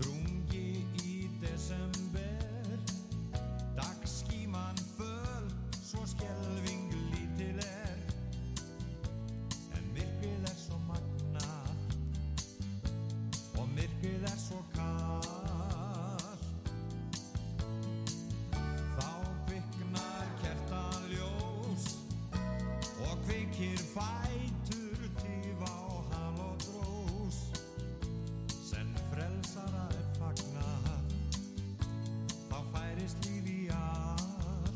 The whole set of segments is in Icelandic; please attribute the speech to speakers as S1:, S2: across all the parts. S1: Drungi í desember Dagskíman föl Svo skelving lítil er En myrkrið er svo magna Og myrkrið er svo kall Þá kviknar kertan ljós Og kvikir fætur Tífa og hal og drós Senn frelsara er fagna Þá færist líf í all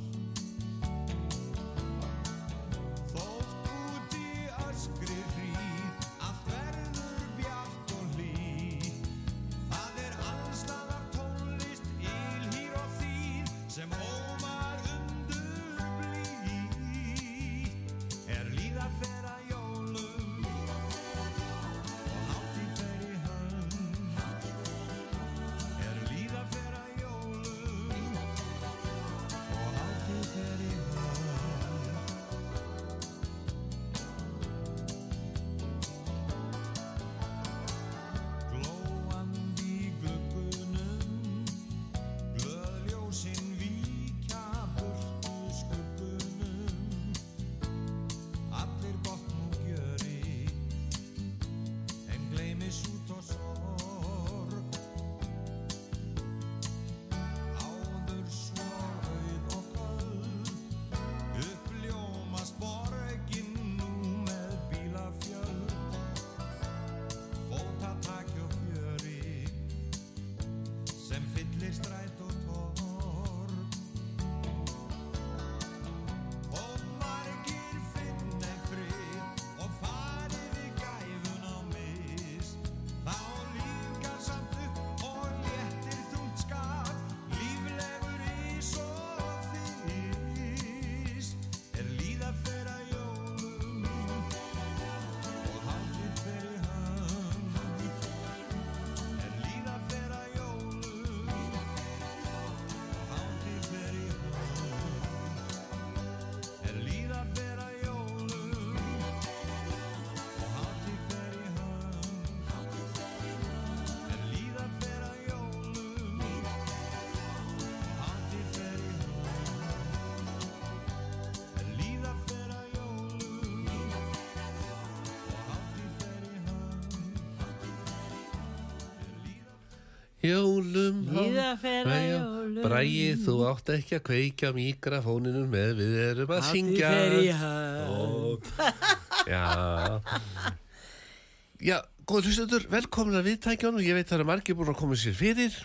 S1: Þótt út í öskri hríð Allt verður bjart og hlý Það er allstaðar tónlist Ylhýr og þýð Sem ómar undur blí Er líða þeirra jólum Og hátíð fer í hönd Er líða fer að jólum og hátíð fer í hönd Glóandi í gluggunum Glöðljósin víkja burtu skuggunum Allir gott nú gjörir en gleymis út og sorg áður svo auð og köld uppljómast borgin nú með bílafjöld fótatak og fjöri sem fyllir stræt og torg Og margir finna frið og farið í gæfun á mis. Þá lífgar samt upp og léttir þungt skap, líflegur ís og þís. Er líða fer að jólum og hátíð fer í hönd. Er líða fer að jólum og hátíð fer í hönd. Er líða fer að jólum og hátíð fer í hönd Er líða fer að jólum og hátíð fer í hönd Er líða fer að jólum og hátíð fer í hönd
S2: Jólum
S3: Líða fer að jólum.
S2: Bræði þú átt ekki að kveika mikrofóninum með við erum að syngja
S3: Hátíð fer í hönd.
S2: Og- Já Já, góður hlustendur, velkomin að viðtækjónum Ég veit það eru margir búin að koma sér fyrir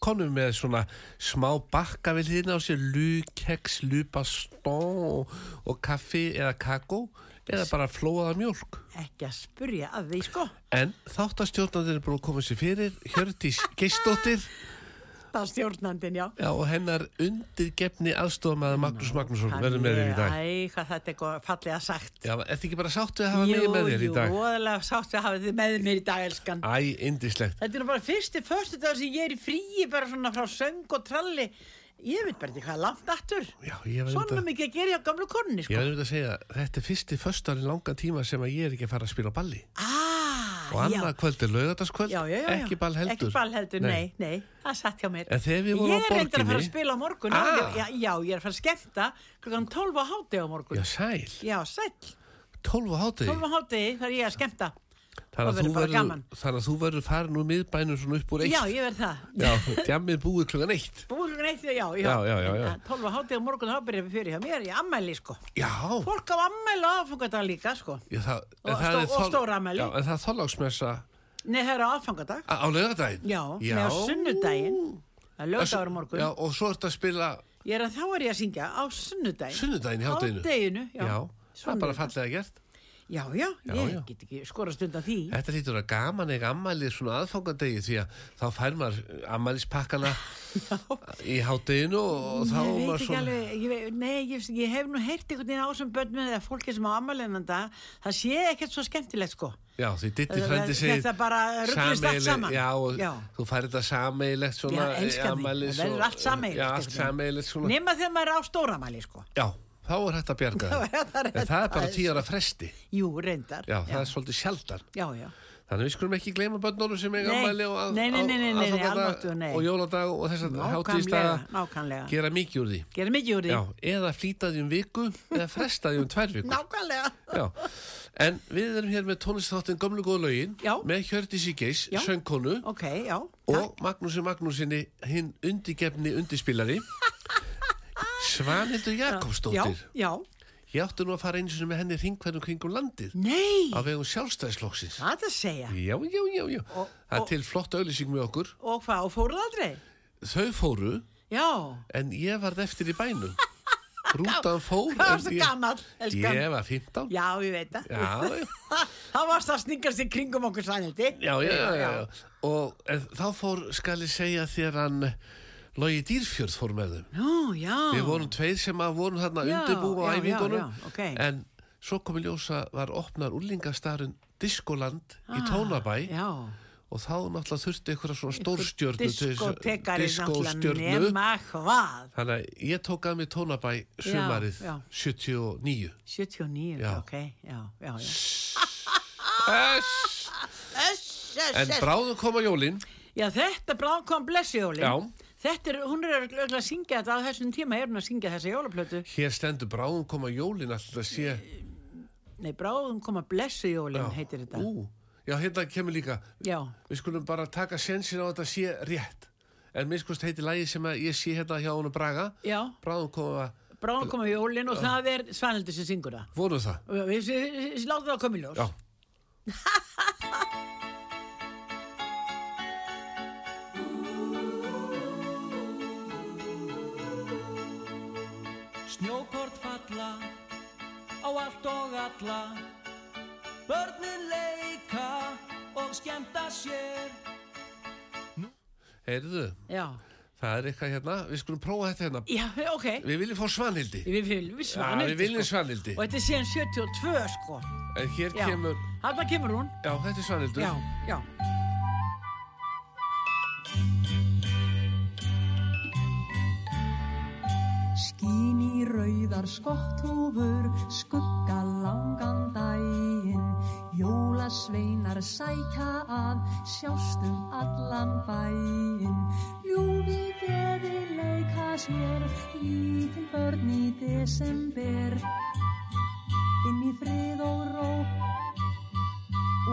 S2: Konum með svona smá bakka við hliðina á sér Lukeks, lupastón og, og kaffi eða kakó Eða bara flóaða mjólk
S3: Ekki að spurja að því sko
S2: En þáttastjórnandir er búin að koma sér fyrir Hjördís Geistóttir
S3: Það stjórnandin, já
S2: Já, og hennar undirgefni aðstofamaður Magnús Magnússon verður með þér í dag.
S3: Æ, hvað þetta er góð- fallega sagt
S2: Já, ertu ekki bara sáttu að hafa mig með þér í dag?
S3: Jú, óðalega sátt að hafa þið með mér í dag, elskan
S2: Æ, indislegt.
S3: Þetta er nú bara fyrsti förstu dagur sem ég er í fríi bara svona frá söng og tralli Ég veit bara ekki hvað er langt aftur
S2: Já, ég var
S3: Svona
S2: einmitt að,
S3: mikið að gera hjá gamlu konni,
S2: ég
S3: sko
S2: var einmitt að segja, þetta er fyrsti föstarinn langa tíma sem að ég er ekki að fara að spila á balli.
S3: Ah,
S2: Og annað kvöld er laugardagskvöld,
S3: já, já, já, já.
S2: ekki ball heldur.
S3: Ekki ball heldur, nei, nei, það er satt hjá mér
S2: En þegar við vorum á
S3: Ég er reyndar að fara að
S2: Borginni-
S3: spila á morgun
S2: Ah.
S3: já, já, já, ég er að fara að skemmta klukkan 12 á hátíð á morgun
S2: Já, sæl,
S3: Já, sæll,
S2: 12 á hátegi.
S3: 12 á hátíð þar er ég að skemmta
S2: Þannig
S3: það
S2: að, þú
S3: verður bara
S2: verður,
S3: gaman.
S2: þannig að þú verður farin úr miðbænum svona upp úr eitt.
S3: Já, ég verð það
S2: Já, djammið búið klukkan eitt.
S3: Búið klukkan eitt, já, já,
S2: Já, já, já, já.
S3: En, að 12 á hátíð á morgun, þá byrjum við fyrir hjá mér, ég ammæli, sko
S2: Já,
S3: Fólk á ammæli á aðfangadag líka, sko
S2: já það, en
S3: Og
S2: það er
S3: stó- og
S2: þol-
S3: stórafmæli.
S2: Já, en það er þorláksmessa
S3: Nei, það er á aðfangadag
S2: á laugardaginn.
S3: Já, nei, á sunnudaginn Það er
S2: Þessu-
S3: lögdagur á morgun
S2: Já, og svo ertu að spila
S3: Ég er að þá er ég að syngja á sunnudaginn
S2: sunnudaginn í hátteginu
S3: Hádeginu, já.
S2: já það er bara
S3: Sunnudaginn.
S2: fallega gert
S3: Já, já,
S2: Já,
S3: ég
S2: já.
S3: get ekki skorast undan því.
S2: Þetta hlýtur að gaman eða ammælið svona aðfangadegi því að þá fær maður ammælispakkana í hátteginu og þá
S3: ég
S2: er
S3: veit
S2: maður
S3: ekki
S2: svona...
S3: alveg, ég veit, nei, ég, ég hef nú heyrt einhvern veginn á sem börnum eða fólki sem á ammalinnanda, það sé ekkert svo skemmtilegt sko.
S2: Já, því ditti
S3: Þetta-
S2: frendi segir
S3: þetta hérna bara ruglist allt
S2: sameiginleg-
S3: saman.
S2: Já, og
S3: Já.
S2: þú fær þetta sameilegt svona
S3: Já, elskan því.
S2: afmælis
S3: Það verður
S2: og-
S3: allt sameiginlegt
S2: Já,
S3: einhvern
S2: allt
S3: veginn.
S2: sameilegt svona
S3: Nema þegar maður er á stóramæli sko.
S2: Já, þá er hægt að bjarga
S3: er það
S2: það
S3: rétt
S2: En það er bara
S3: aðeins.
S2: tíu ára fresti
S3: Jú, reyndar.
S2: Já, það er svolítið sjaldan
S3: Já, já.
S2: Þannig við skulum ekki gleyma börnunum sem eiga
S3: Nei,
S2: ammæli og að-
S3: nei, nei, nei, nei, nei,
S2: á- aðfangadag
S3: almáttugur, nei.
S2: og jóladag og þess að hátíðstaga
S3: Nákvæmlega, nákvæmlega.
S2: gera mikið úr því
S3: Gerum ekki úr því.
S2: Já, eða flýta því um viku eða fresta því um tvær viku
S3: Nákvæmlega.
S2: Já, en við erum hér með tónlistáttin Gömlu góð lögin
S3: Já.
S2: með Hjördísi Geis,
S3: Já.
S2: söngkonu
S3: Ok, já.
S2: og Magnúsi Magnúsinni hinn undigefni undispilari Svanhildur Jakobsdóttir
S3: Já, já.
S2: Ég átti nú að fara einu sinni með henni hringverðum kringum landið
S3: Nei,
S2: á vegum sjálfstæðisflóksins
S3: það er að segja.
S2: Já, já, já, já
S3: Og-
S2: Það er
S3: og-
S2: til flott auðlýsing með okkur
S3: Og hvað, og fóruð aldrei?
S2: Þau fóru
S3: Já.
S2: en ég varð eftir í bænum Rútan fór en
S3: Hvað varstu
S2: ég-
S3: gamall, elskan?
S2: Ég var 15
S3: Já, ég veit það.
S2: Já, já
S3: það varst að sningast í kringum okkur sænildi.
S2: já, já, já, já. Og en, þá fór, skal ég segja þér hann Logi Dýrfjörð fór með þeim
S3: Nú, já.
S2: Við vorum tveir sem að vorum þarna
S3: Já,
S2: undirbúa á
S3: já, já,
S2: æfingunum
S3: já, ok.
S2: En svo komi ljósa var opnar úrlingastarun Diskoland í Tónabæ
S3: Ah, Já.
S2: Og þá náttúrulega þurfti einhverja svona stórstjörnu til þess-
S3: Diskotekari náttúrulega
S2: diskóstjörnu.
S3: nema hvað.
S2: Þannig að ég tók að mig Tónabæ sumarið
S3: já.
S2: 79
S3: 79,
S2: Já.
S3: ok, já, já, já.
S2: Þess!
S3: Öss, öss,
S2: En
S3: öss.
S2: bráðum koma jólin
S3: Já, þetta bráðum kom blessijóli.
S2: Já.
S3: Þetta er, hún er örugglega að syngja þetta á þessum tíma, er hún að syngja þessa jólaplötu.
S2: Hér stendur bráðum koma jólin Alltaf að sé
S3: Nei, bráðum koma blessijólin heitir þetta.
S2: Ú, já, hérna kemur líka
S3: Já,
S2: Við skulum bara taka sensin á að þetta sé rétt En minnskust heiti lagi sem að ég sé hérna hjá hún og Braga
S3: já,
S2: Bráðum koma,
S3: bráðum koma jólin og það er Svanhildur sem syngur það.
S2: voru það
S3: Við, við, við, við látum það að koma í ljós.
S2: Já,
S4: Snjókort falla á allt og alla Börnin leika og skemmta sér
S2: heyrðu
S3: Já,
S2: Það er eitthvað hérna, við skulum prófa þetta hérna
S3: já, ok.
S2: Við viljum fá Svanhildi
S3: Við viljum
S2: Já,
S3: Svanhildur.
S2: við viljum
S3: sko.
S2: Svanhildi
S3: Og þetta er síðan 72, sko.
S2: En hér
S3: Já.
S2: kemur,
S3: Þarna kemur hún.
S2: já, þetta er Svanhildur
S3: Já, já.
S5: Skín í rauðar skotthúfur, skugga langan daginn, jólasveinar sækja að, sjást um allan bæinn. Ljúfi geði leika sér, lítil börn í desember, inn í frið og ró,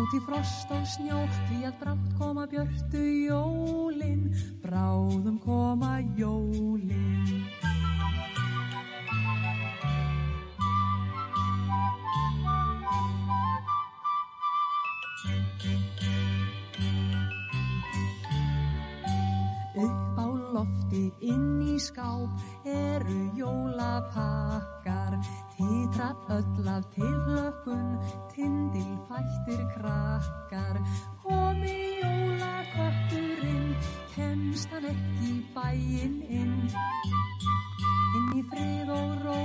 S5: út í frost og snjó, því að brátt koma björtu jólin, bráðum koma jólin. Upp á lofti inn í skáp eru jólapakkar Titra öll af tilhlökkun, tindil fættir krakkar Komi jólakötturinn, kemst hann ekki í bæinn inn Inn í frið og ró,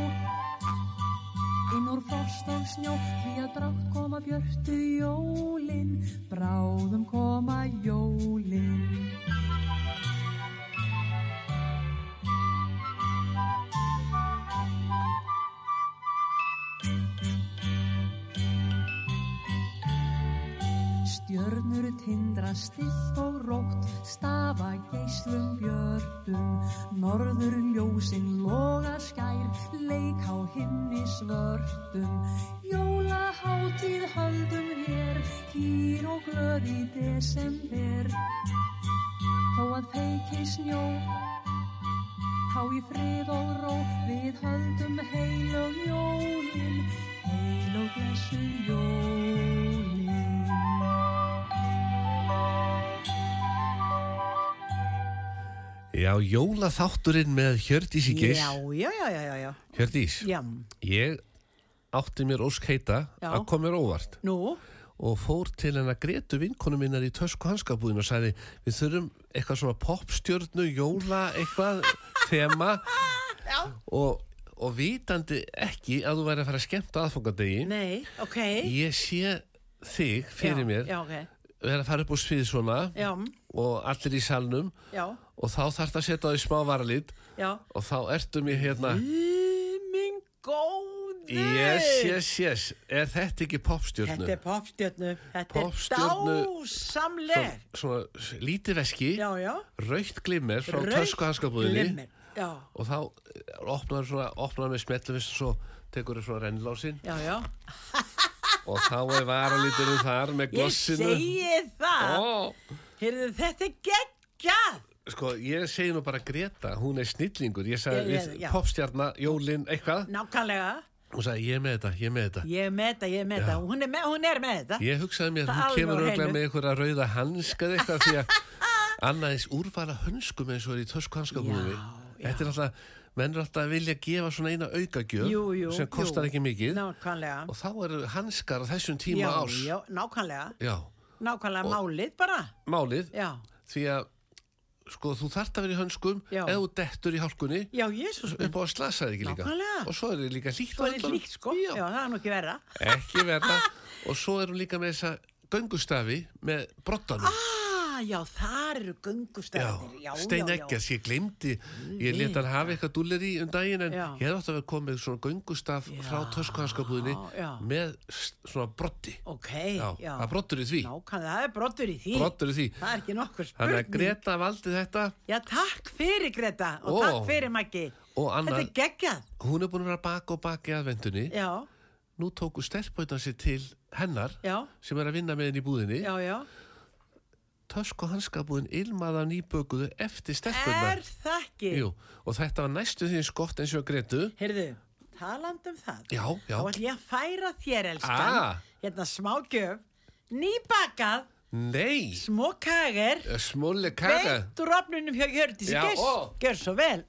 S5: inn úr frost og snjó Því að brátt koma björtu jólin, bráðum koma jólin Stjörnur tindra stillt og rótt, stafa geislum björtum, norður ljósin loga skær, leik á himni svörtum. Jólahátíð höldum hér, hýr og glöð í desember, þó að feiki snjó, þá í frið og ró, við höldum heilög jólin, heilög blessu jólin.
S2: Já, jólaþátturinn með Hjördísi Geis
S3: Já, já, já, já, já.
S2: Hjördís,
S3: Já,
S2: ég átti mér ósk heita
S3: Já.
S2: að kom mér óvart
S3: Nú,
S2: og fór til hennar Gretu vinkonu minnar í tösku hanskabúðin og sagði við þurfum eitthvað svona popstjörnu, jóla, eitthvað þema og, og vitandi ekki að þú væri að fara að skemmta á aðfangadegi
S3: nei, ok.
S2: ég sé þig fyrir
S3: já,
S2: mér
S3: Já, ok.
S2: vera að fara upp á svið svona
S3: Já,
S2: og allir í salnum
S3: já,
S2: og þá þarf það að setja á því smá varalít
S3: já.
S2: og þá ertu mér hérna
S3: Minn góður.
S2: yes, yes, yes, er þetta ekki popstjörnu?
S3: Þetta er popstjörnu. Þetta
S2: Poppstjörnu-
S3: er dásamleg.
S2: Svona, svona lítið veski
S3: Já, já.
S2: raukt glimmer frá
S3: Rautt
S2: tösku hanskabúðinni
S3: glimmer. Já,
S2: og þá opnaður svona, opnaður með smetluvist og svo tekur þér svona rennlásin
S3: já, já.
S2: og þá er varalíturinn þar með
S3: Ég
S2: glossinu
S3: segi það.
S2: Ó,
S3: Heyrðu, þetta er geggjað.
S2: sko, ég segi nú bara Greta, hún er snillingur ég sagði,
S3: Ég- ég-
S2: við
S3: já.
S2: popstjarna, jólin, eitthvað
S3: Nákvæmlega.
S2: hún sagði, ég er með þetta, ég er með þetta
S3: Ég er með þetta, ég er með þetta. Hún er með, hún er með þetta.
S2: ég hugsaði mér,
S3: Það
S2: hún
S3: alveg á
S2: kemur örglega
S3: hreinu.
S2: með einhverja rauða hanskað eitthvað því að annaðis úrvala hönskum eins og er í tösku hanskabúði
S3: Já, já.
S2: þetta er alltaf, menn er alltaf að vilja gefa svona eina aukagjöf
S3: Jú, jú,
S2: sem kostar
S3: jú.
S2: ekki mikið
S3: Nákvæmlega.
S2: og þá eru hanskar á þessum tíma
S3: já,
S2: árs
S3: já, nákvæmlega.
S2: Já,
S3: Nákvæmlega málið bara.
S2: málið
S3: Já,
S2: því að sko þú þart að vera í hönskum
S3: Já.
S2: eða þú dettur í hálkunni
S3: já, jésus minn.
S2: upp á að slasa þig ekki líka
S3: Nákvæmlega.
S2: og svo er þið líka líkt
S3: Svo er þetta líkt, sko. Já,
S2: Já.
S3: það er nú ekki verra.
S2: ekki verða og svo erum líka með þessa göngustafi með brottanum
S3: Ah, já, þar eru gungustæðir. Já, já, já.
S2: Stein Eggers, ég glemdi ég let hann hafa eitthvað dúlleri um daginn en
S3: Já.
S2: ég hef átt að vera komið svona göngustaf frá töskuhanskabúðinni
S3: já.
S2: með s- svona brotti
S3: Ok,
S2: já,
S3: já.
S2: það brottur í því
S3: Nákvæmlega, það er brottur í því.
S2: brottur í því
S3: Það er ekki nokkur
S2: þannig að
S3: spurning.
S2: Greta valdi þetta
S3: Já, takk fyrir Greta og
S2: Ó.
S3: takk fyrir Maggi.
S2: og
S3: Þetta
S2: annar,
S3: er geggjað.
S2: hún er búin að vera bak og baki að vendunni
S3: Já,
S2: nú tóku stelpautan sér til hennar
S3: já,
S2: sem er að vinna með henni í búðinni
S3: já, já.
S2: tösk og hanskabúðin ilmaða nýbökuðu eftir stelpautan
S3: Er það ekki?
S2: Jú, og þetta var næstu því eins gott eins og að Gretu
S3: Heyrðu, taland um það.
S2: já, já,
S3: Þá ætlum ég að færa þér, elskan.
S2: Ah.
S3: Hérna smágjöf, nýbakað,
S2: nei
S3: smókager,
S2: Smulle Kaka,
S3: beint úr opnunum hjá Hjördísi
S2: Já,
S3: Gess.
S2: ó.
S3: Gjör svo vel.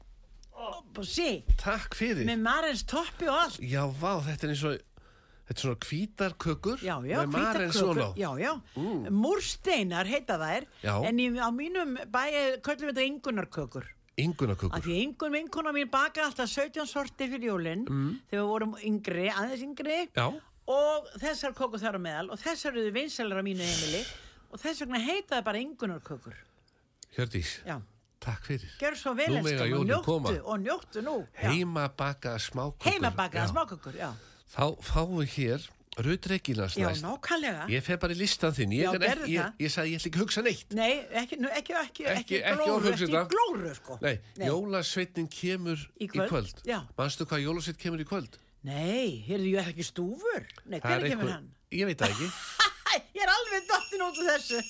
S3: Og sí,
S2: takk fyrir
S3: með marins toppi og allt.
S2: Já, vá, þetta er eins og Þetta er svona hvítar kökur
S3: Já, já,
S2: með Maren Sóló.
S3: Já, já, múrsteinar heita þær,
S2: Já.
S3: en í, á mínum bæi köllum við þetta yngunarkökur.
S2: Ingunakökur
S3: Af því einhvern vinkona mín bakaði alltaf 17 sortir fyrir jólinn þegar við vorum yngri, aðeins yngri
S2: Mm. Já,
S3: og þessar kóku þar á meðal og þessar eru vinselar á mínu heimili og þess vegna heitaði bara yngunar kökur.
S2: Hjördís,
S3: Já,
S2: takk fyrir
S3: gerðu svo vel
S2: Nú mega
S3: elskan, og
S2: jólin
S3: njóttu
S2: koma.
S3: og njóttu nú. Já.
S2: Heima bakaða smákökur
S3: Heimabakaða
S2: Já.
S3: smákökur, já.
S2: Þá fáum við hér Rut Reginans
S3: Já,
S2: næst
S3: nákvæmlega.
S2: Ég fer bara í listan þinn Ég,
S3: Já,
S2: er
S3: gerðu
S2: ekki,
S3: það.
S2: ég, ég sagði, ég ætla ekki að hugsa neitt
S3: Nei, ekki, nú, ekki, ekki,
S2: Ekki-
S3: ekki,
S2: ekki
S3: glóru,
S2: ofhugsa
S3: ekki
S2: þetta.
S3: glóru, sko.
S2: Nei, jólasveitnin kemur
S3: Í kvöld, já.
S2: Manstu hvað jólasveit kemur í kvöld?
S3: Nei, heyrðu, ég er ekki stúfur. Nei, hvernig kemur
S2: einhver-
S3: hann?
S2: Ég veit það ekki
S3: Æ, ég er alveg dottin út úr þessu.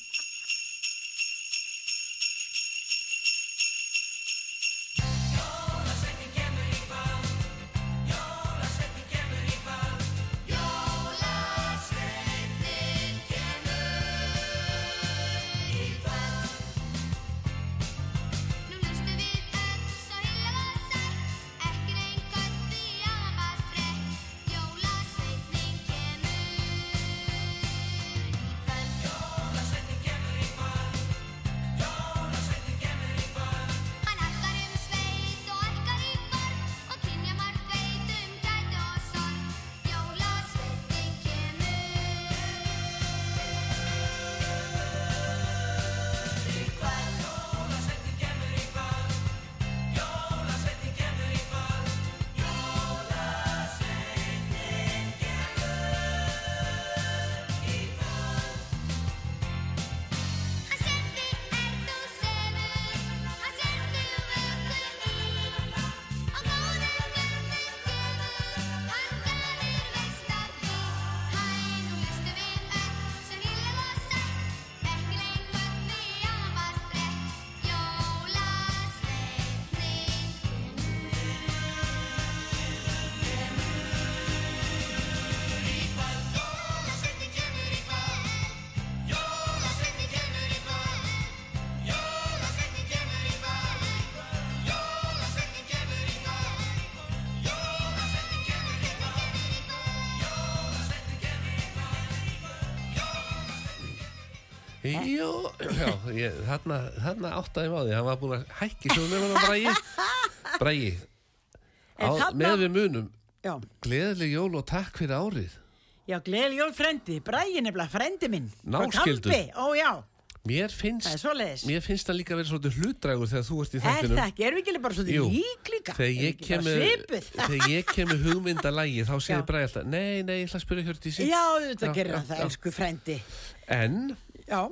S6: Nú lustum við öll svo heila var sætt Ekki reyn gott því að hann var streytt Jólasveitnin kemur í kvöld Jólasveitnin kemur í
S3: Eh?
S2: Jó, já, ég, þarna, þarna áttaði ég á því, hann var búin að hækki sjónum hann bræði, bræði, á,
S3: En þarna-
S2: með við munum,
S3: Já,
S2: gleðileg jól og takk fyrir árið.
S3: já gleðil jól frendi, bræði nefnilega frendi minn. Frá
S2: Náskyldur.
S3: Kambi, Ó já,
S2: Mér
S3: það er
S2: finnst,
S3: svoleiðis.
S2: mér finnst það líka að vera svolítið hlutdrægur þegar þú ert í
S3: Er
S2: þættinum.
S3: það ekki, erum við ekki bara
S2: Jú,
S3: svona lík líka?
S2: Þegar
S3: Erum við
S2: ég
S3: ekki bara
S2: kemur,
S3: Svipuð.
S2: þegar ég kemur hugmyndalægi þá
S3: Já.
S2: segir bræði alltaf, nei, nei, ég ætla að spyrja Hjördísi.
S3: Já, þetta
S2: Já,
S3: gerir
S2: já,
S3: hann það,
S2: já.
S3: elsku frendi.
S2: En,
S3: Já.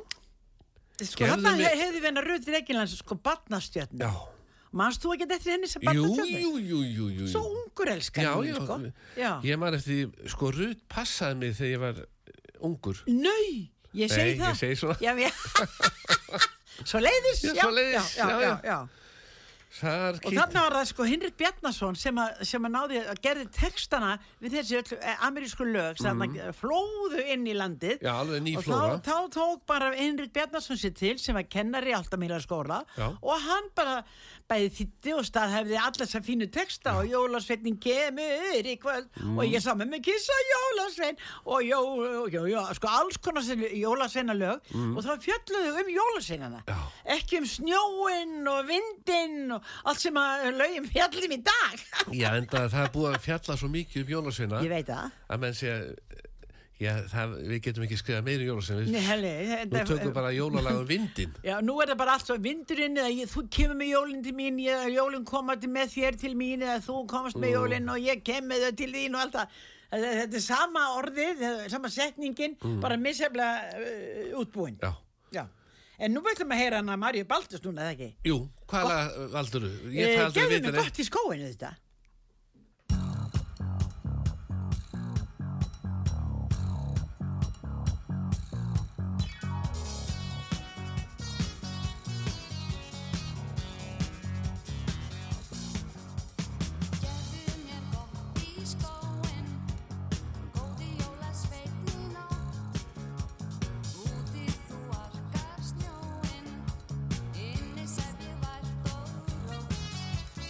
S3: Sko,
S2: Gerðu
S3: þarna
S2: mig-
S3: mér... hefði við hennar Ruth Reginlands sko barnastjörn.
S2: já,
S3: Manst þú ekki eftir henni sem
S2: jú,
S3: barnastjörn?
S2: jú, jú, jú, jú.
S3: Svo ungur elskar
S2: Já,
S3: henni,
S2: já,
S3: sko. Já.
S2: ég man eftir, því, sko, Rut passaði mig þegar ég var ungur.
S3: Nei, ég segi
S2: Nei,
S3: það.
S2: ég segi svona.
S3: Já, já. Svo leiðis,
S2: Já,
S3: já,
S2: svoleiðis, já,
S3: já, já,
S2: já.
S3: já.
S2: Þar
S3: Og þarna var það sko Hinrik Bjarnason sem að, sem að náði að gerði textana við þessi öllu eh, amerísku lög sem mm. flóðu inn í landið
S2: Mhm. Já, alveg ný
S3: og
S2: flóra.
S3: þá, þá tók bara Hinrik Bjarnason sér til sem var kennari í Altamýra skóla
S2: Já.
S3: og hann bara bæði þýtti og staðhefði alla þess fínu texta og jólasveitnin kemur í kvöld og ég saman með kissa jólasvein og jó, jó, jó, sko alls konar sem jólasveina lög og þá fjölluðu um jólasveinana
S2: Mm. Já.
S3: ekki um snjóin og vindin og allt sem að lögum fjallum í dag
S2: Já, enda það er búið að fjalla svo mikið um jólasveina
S3: ég veit það
S2: að menn segja, já, það, við getum ekki skrifað meiri jólasveina,
S3: Nei,
S2: við,
S3: helli,
S2: nú
S3: þetta-
S2: tökum bara um jólalagum vindin.
S3: Já, nú er það bara allt svo vindurinn eða ég, þú kemur með jólinn til mín eða jólinn koma til með þér til mín eða þú komast
S2: Mm.
S3: með jólinn og ég kem með þau til þín og allt það. Þetta þetta er sama orðið, eh, sama setningin, bara misseflega uh, útbúin.
S2: Mm. Já,
S3: Já. En nú ætlum við að heyra hana Marju Baltus núna, eða ekki?
S2: jú, hvað lag valdur þú? Ég fæ aldrei að vita
S3: Gefðu mig
S2: neitt.
S3: Eh, gott í skóinu þetta.
S7: Gefðu mér gott í skóin, góði jólasveitni nótt. Úti þú arkar snjóin, inni sef ég vært og rótt.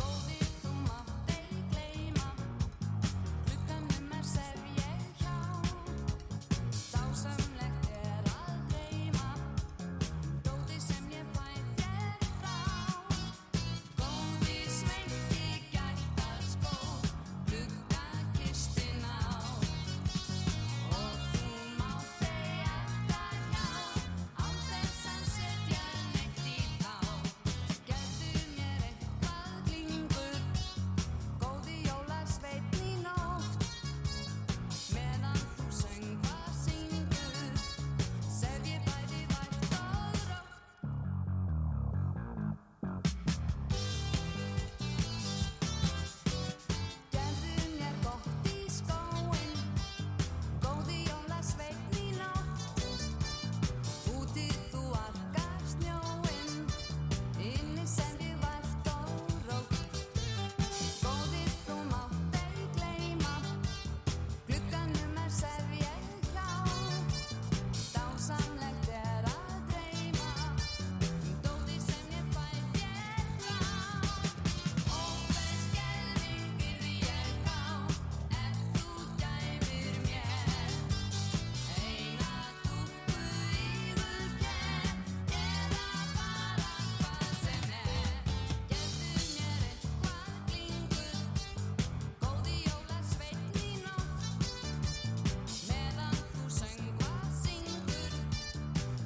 S7: Góði þú mátt ei gleyma, glugganum er sef ég hjá. Dásamlegt er að dreyma, dóti sem ég fæ þér frá. Góði sveiti gættar skó, glugga kistin á Og þú mátt ei alltaf hjá, án þess að setja neitt í þá Gerðu mér eitthvað glingur, góði jólasveitni nótt Meðan þú söngvar syngur, sef ég bæði vært og rótt Gerðu mér gott í skóin, góði jólasveitni nótt. Úti þú arkar snjóin, inni sem ég vært og rótt. Góði þú mátt ei gleyma, glugganum er sef ég hjá. Dásamlegt er að dreyma, um dóti sem ég fæ þér frá.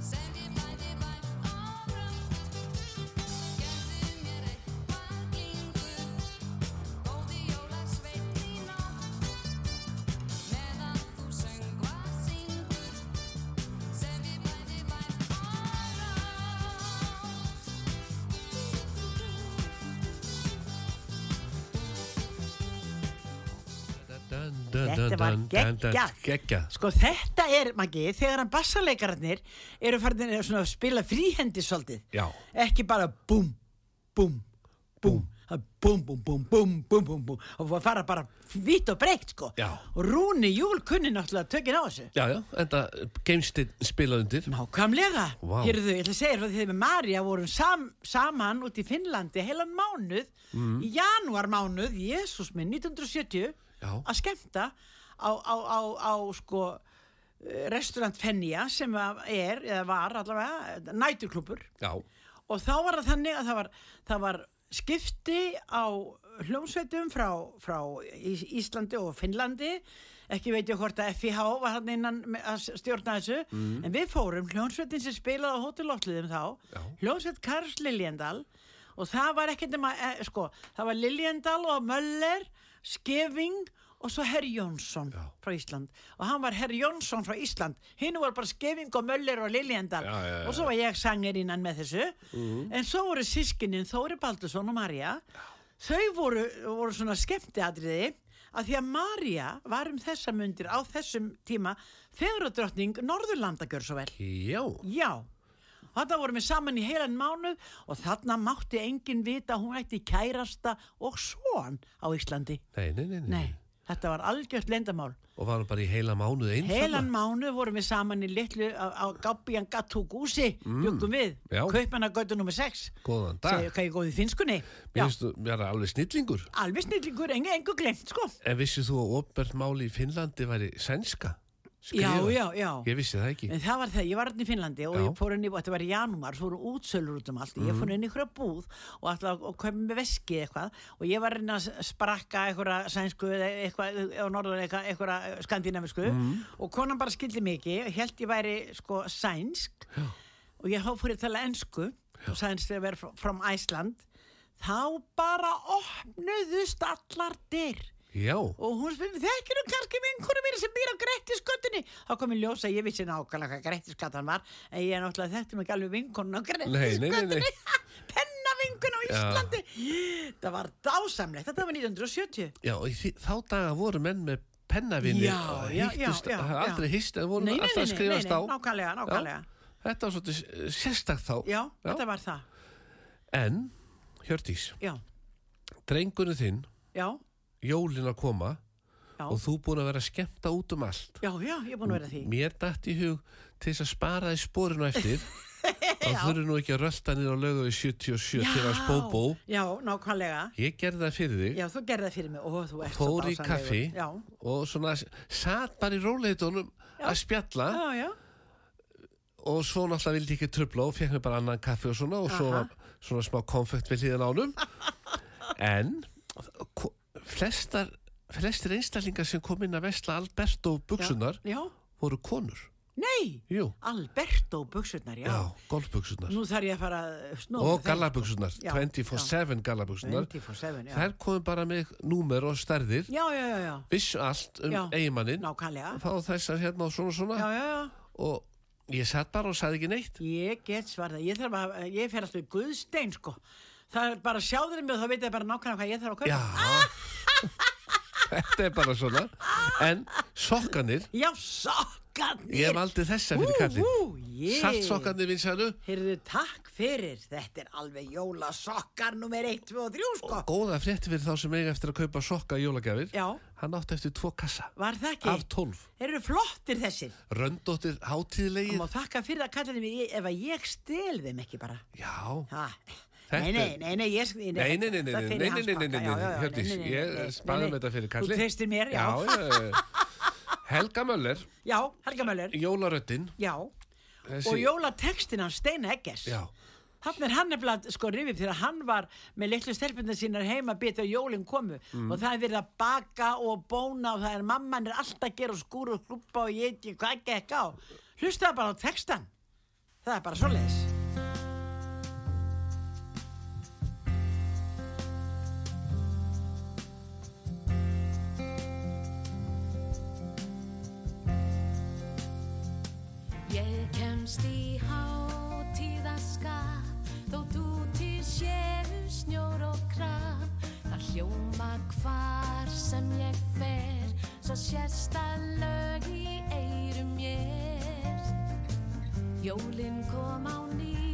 S7: Sendi bæði vært og rátt Gerðu mér eitthvað glingur Góði jólasveitni nótt Meðan þú söngvað syngur Sem við bæði vært og rátt
S2: Dun, dun,
S3: Þetta
S2: dun,
S3: var
S2: dun, dun, dun,
S3: geggjað.
S2: geggjað.
S3: Sko þetta er, Maggi, þegar hann bassaleikararnir eru farin að svona spila fríhendi svolítið.
S2: Já.
S3: Ekki bara búm, búm, búm, það er búm, búm, búm, búm, búm, búm, búm og fara bara vitt og breytt, sko.
S2: Já.
S3: Og Rúni Júl kunni náttúrulega tökinn á þessu.
S2: Já, já, enda geimstinn spilað undir.
S3: Nákvæmlega,
S2: Vá.
S3: hérðu, ég ætla að segja frá því að við Marja vorum sam, saman út í Finnlandi heilan mánuð,
S2: Mm.
S3: í janúar mánuð, Jésús minn, 1970,
S2: Já.
S3: að skemmta á, á, á, á sko, eh, restaurant Fenja sem að er, eða var allavega, næturklubur
S2: já,
S3: og þá var það þannig að það var, það var skipti á hljómsveitum frá, frá Ís- Íslandi og Finnlandi ekki veit ég hvort að FIH var hann innan með- að stjórna þessu en við fórum hljómsveitin sem spilaði á hótelóttliðum þá
S2: Já.
S3: hljómsveit Karls Liljendal og það var ekkert nema e, sko, það var Liljendal og Möller Skeving og svo Herr Jónsson
S2: Já.
S3: frá Ísland og hann var Herr Jónsson frá Ísland hinn var bara Skeving og Möller og Liljendal
S2: Já, já, Mhm. já.
S3: og svo var ég sangerinnan með þessu en svo voru sískinin Þóri Baldursson og Marja þau voru, voru svona skemmtiadriði að því að Marja var um þessa mundir á þessum tíma fegurðardrottning Norðurlanda gjör svo vel
S2: já,
S3: já Þetta vorum við saman í heilan mánuð og þarna mátti enginn vita að hún ætti kærasta og svoan á Íslandi.
S2: nei, nei, nei, nei.
S3: Nei, þetta var algjört lendamál.
S2: og varum bara í heila mánuð eins
S3: Heilan mánu vorum við saman í litlu á, á Gabian Gatúgúsi mm. bjökkum við,
S2: já.
S3: kaupmannagötu nr. 6
S2: góðan dag,
S3: segja hvað ég góði í finskunni
S2: mér finnst þú, mér er alveg snillingur
S3: Já, alveg snillingur, engu, engu glemt sko
S2: en vissið þú að opert máli í Finnlandi væri sænska
S3: já,
S2: Skrifað.
S3: já, já
S2: ég vissi það ekki
S3: en það var það, ég var hérna í Finnlandi
S2: Já.
S3: og
S2: Mhm.
S3: ég fór inn í, og þetta var í janúmar, svo voru útsölur út um allt ég fór inn í einhverja búð og alltaf og köfum með veski eitthvað og ég var hérna að s- sprakka einhverja sænsku eða eitthvað, eða norðan eitthvað, einhverja skandinavisku
S2: Mhm.
S3: og konan bara skildi mikið og held ég væri sko sænsk já. og ég fór að tala ensku og sænsk þegar verið frá from Iceland þá bara opnuðust allar dyr
S2: já,
S3: og hún spyrir, þekkir hún kannski vinkonu mín sem býr á Grettisgötunni þá kom ég ljósa, ég vissi nákvæmlega hvað Grettisgatan var en ég náttúrulega þekkti mig ekki alveg vinkonun á
S2: nei, nei,
S3: Grettisgötunni
S2: nei.
S3: penna vinkun á Íslandi það var dásamlegt, þetta var 1970
S2: já og í því, þá daga voru menn með pennavinni
S3: Já, já, já, já,
S2: það
S3: já.
S2: aldrei hýst en voru
S3: Nei, nei,
S2: alltaf að
S3: nei, nei,
S2: skrifast
S3: nei,
S2: á
S3: nei, nákvæmlega, nákvæmlega.
S2: Já, þetta var svolítið s- sérstakt þá
S3: já, þetta var það
S2: en, Hjördís,
S3: já,
S2: drengurinn þinn
S3: já,
S2: jólin að koma
S3: já,
S2: og þú búin að vera að skemmta út um allt
S3: já, já, ég er búin að vera að því
S2: mér dætt í hug til þess að spara því spórinu eftir þá þurfi nú ekki að rölda niður á lögu við 77 til að spóbó
S3: já, nákvæmlega
S2: ég gerði það fyrir þig
S3: já, þú gerði það fyrir mig, ó, þú ert svo
S2: fór í
S3: dásamlegur.
S2: kaffi
S3: já,
S2: og svona s- satt bara í róleitunum að spjalla
S3: já, já,
S2: og svo náttúrulega vildi ekki trubla og fekk mér bara annan kaffi og svona og svo
S3: Aha.
S2: var svona smá konfekt við hliðan ánum en ko- flestar flestir einstaklingar sem kom inn að vesla Alberto buksunar
S3: já,
S2: voru konur
S3: nei
S2: jú,
S3: Alberto buksurnar, já.
S2: já, golfbuksunar
S3: Nú þarf ég að fara að snúa
S2: og
S3: með þeim,
S2: gallabuksunar,
S3: sko. Já,
S2: 24-7
S3: já.
S2: gallabuksunar
S3: 24-7, já.
S2: þær komum bara með númer og stærðir
S3: Já, já, já, já.
S2: vissu allt um
S3: Já,
S2: eigimannin
S3: Nákvæmlega.
S2: þá þessar hérna og svona og svona
S3: Já, já, já.
S2: og ég satt bara og sagði ekki neitt
S3: Ég get svarðað. Ég þarf að, ég fer alltaf í Guðstein, sko. Það er bara sjáður mig og þá veit ég bara nákvæmlega hvað ég þarf að kaupa.
S2: Já Þetta er bara svona En sokkanir,
S3: Já, sokkarnir.
S2: ég hef aldrei þessa fyrir kallin
S3: Ú, ég.
S2: Saltsokkanir vinsælu
S3: Heyrðu, takk fyrir. Þetta er alveg jólasokkar nummer 1, 2 og 3, sko.
S2: og góða frétti fyrir þá sem eiga eftir að kaupa sokka í jólagjafir
S3: Já.
S2: Hann átti eftir tvo kassa
S3: Var það ekki?
S2: af tólf
S3: Heyrðu, flottir þessir.
S2: Röndóttir hátíðlegir
S3: Þú má þakka fyrir að kalla þeim í- ef að ég stel þeim ekki bara.
S2: Já
S3: Ha.
S2: Þetta
S3: Nei, nei,
S2: er-
S3: nei, nei, ég nei,
S2: Nei, nei, nei, nei,
S3: það
S2: nei,
S3: fer
S2: nei,
S3: í
S2: nei, nei,
S3: hans
S2: nei,
S3: pakka,
S2: nei,
S3: já, já,
S2: nei,
S3: já,
S2: Hjördís,
S3: nei, nei, nei, nei,
S2: ég sparaði
S3: nei,
S2: með þetta fyrir kallin
S3: Þú treystir mér, já, já,
S2: já, já. Helga Möller,
S3: Helga Möller,
S2: jólaröddin
S3: já og jólatextin hans Steina Eggers
S2: Já,
S3: þannig er hann nefnilega sko rifið þegar hann var með litlu stelpunna sínar heima betur jólin komu
S2: Mm.
S3: og það er verið að baka og bóna og það er mamman er alltaf að gera og skúra og klúpa og ég veit ekki hvað gekk á hlustaðu bara á textan það er bara svoleiðis
S6: Ég kemst í hátíðaskap Þó dúti séu um snjór og kraf Það hljóma hvar sem ég fer Svo sérst að lög í eyrum mér Jólin kom á ný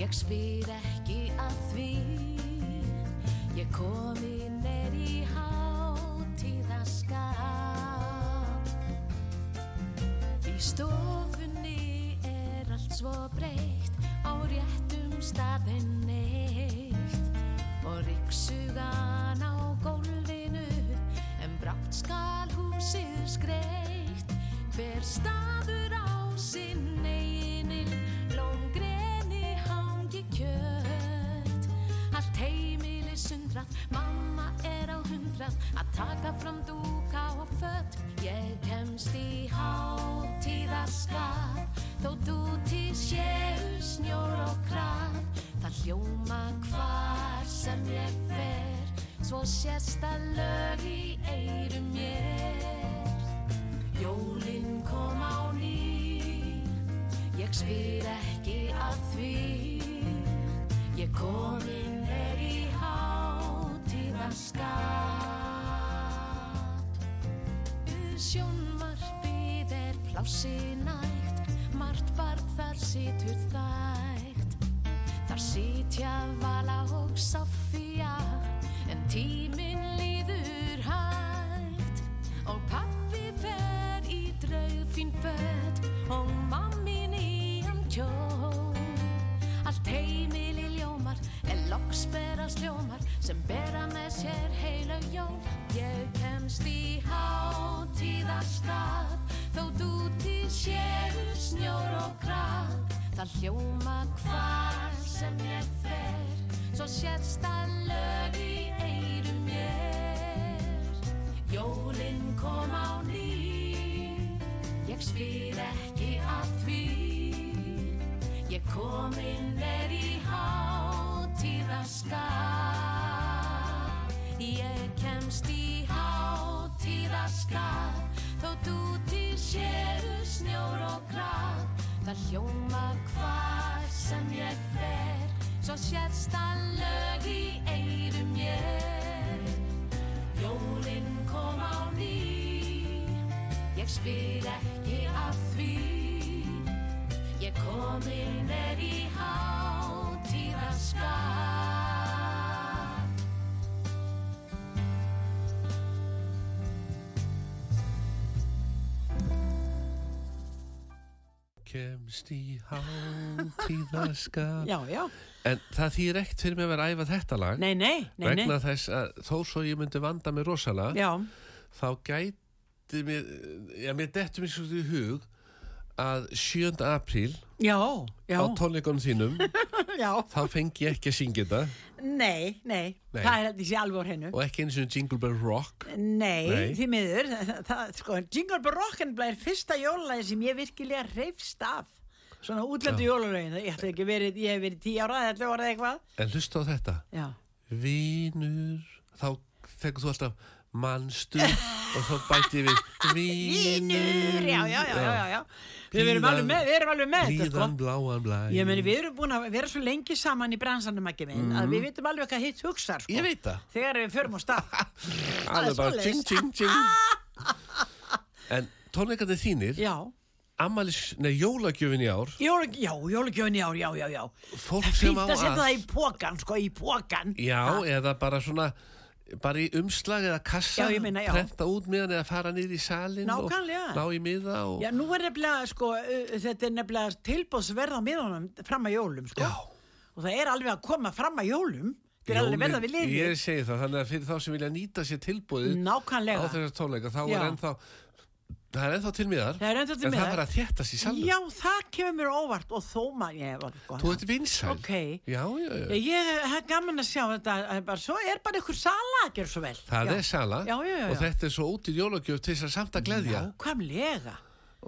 S6: Ég spyr ekki að því Ég komin er í hátíðaskap Í stofunni er allt svo breytt á réttum staðinn eitt og ríksugan á gólfinu en brátt skal húsið skreitt hver Hver staður á sinn eiginin, lóngreni hangi kjött. Allt heimili sundrað, mamma er á hundrað, að taka fram dúka og fött. Ég kemst í hátíðaskap, þó dúti séu snjór og kraf. Það hljóma hvar sem ég fer, svo sést að lög í eyrum mér. Jólin kom á ný Ég spyr ekki að því Ég komin er í hátíðaskap Sjónvarpið er plási nægt Margt barð þar situr þægt Þar sitja Vala og Sofía En tíminn líður hægt Og pappi fer í draugfín fött Og mammin í hann kjól Allt heimili ljómar En loks berast ljómar Sem bera með sér heila jól Ég kemst í hátíðarstað Þó dúti séu snjór og kraf Það hljóma hvar sem ég fer Svo sérst að lög í eyrum mér Jólin kom á ný Ég spyr ekki að því Ég komin er í hátíðaskap Ég kemst í hátíðaskap Þó dúti séu snjór og graf Það hljóma hvar sem ég fer Svo sérst að lög í eyrum mér Jólin kom á ný Ég spyr ekki að því Ég komin er í hátíðaskap
S2: Kemst í hátíðaskap
S3: Já, já,
S2: En það þýr ekkert fyrir mig að vera að æfa þetta lag
S3: nei, nei, nei, nei.
S2: Vegna þess að þó svo ég myndi vanda mig rosalega
S3: Já,
S2: Þá gæti mér Já, mér dettur mér svo í hug Að 7. apríl
S3: já, já,
S2: á tónleikunum þínum
S3: já,
S2: Þá fengi ég ekki að syngja þetta
S3: nei, nei,
S2: Nei.
S3: það er þetta sé alveg á hennu.
S2: Og ekki eins og Jingle Bell Rock
S3: Nei,
S2: Nei.
S3: því miður, það, það, sko, Jingle Bell Rockenblæ er fyrsta jólalagi sem ég virkilega reyfst af. Svona útlöndu jólalögin, ég ætla ekki verið, ég hef verið 10 ára, 11 ára eða eitthvað.
S2: En hlusta á þetta
S3: Já,
S2: Vínur Þá þegar þú alltaf manstu Og þá bæti ég við Vínur
S3: Vínur, já, já, já, já, já. Við erum alveg með, við erum alveg með þetta, sko.
S2: Líðan bláan blæ
S3: Ég meni, við erum búin að vera svo lengi saman í bransanum ekki minn að við vitum alveg hvað hitt hugsar, sko.
S2: Mhm. Ég veit það
S3: Þegar við förum á stað.
S2: Það er bara
S3: svoleiðis.
S2: tjing, tjing, tjing En tónleikandi þínir
S3: já,
S2: Amalis, nei, jólagjöfin í ár
S3: Jóla, já, jólagjöfin í ár, já, já, já.
S2: Fólk sem á
S3: Fýtt að setja það í
S2: að
S3: pókan, sko, í pókan.
S2: Já, eða bara svona bara í umslag eða kassa
S3: Já, ég meina, já.
S2: prenta út meðan eða fara niður í salin
S3: Nákvæmlega.
S2: og ná í miða og...
S3: Já, nú er nefnilega, sko, uh, þetta er nefnilega tilbóðsverð á miðunum fram að jólum, sko. Og það er alveg að koma fram að jólum. Þetta er alveg verða við liðið.
S2: Ég segi það, þannig að fyrir þá sem vilja nýta sér tilbúið á
S3: Nákvæmlega.
S2: þessar tónleika þá er
S3: Já.
S2: ennþá það er ennþá til miðar
S3: Það er ennþá til
S2: en
S3: miðar.
S2: það var að þéttast í salin
S3: Já, það kemur mér á óvart og þó maður, ég var, sko.
S2: Þú ert vinsæl
S3: Ókei.
S2: Já, já, já
S3: Ég, ég- það er gaman að sjá þetta, það er bara, svo er bara ykkur sala að gera svo vel.
S2: Það
S3: Já.
S2: er sala
S3: Já, já, já,
S2: og
S3: já.
S2: þetta er svo ótir jólagjöf til þess að samt að gleðja
S3: Nákvæmlega.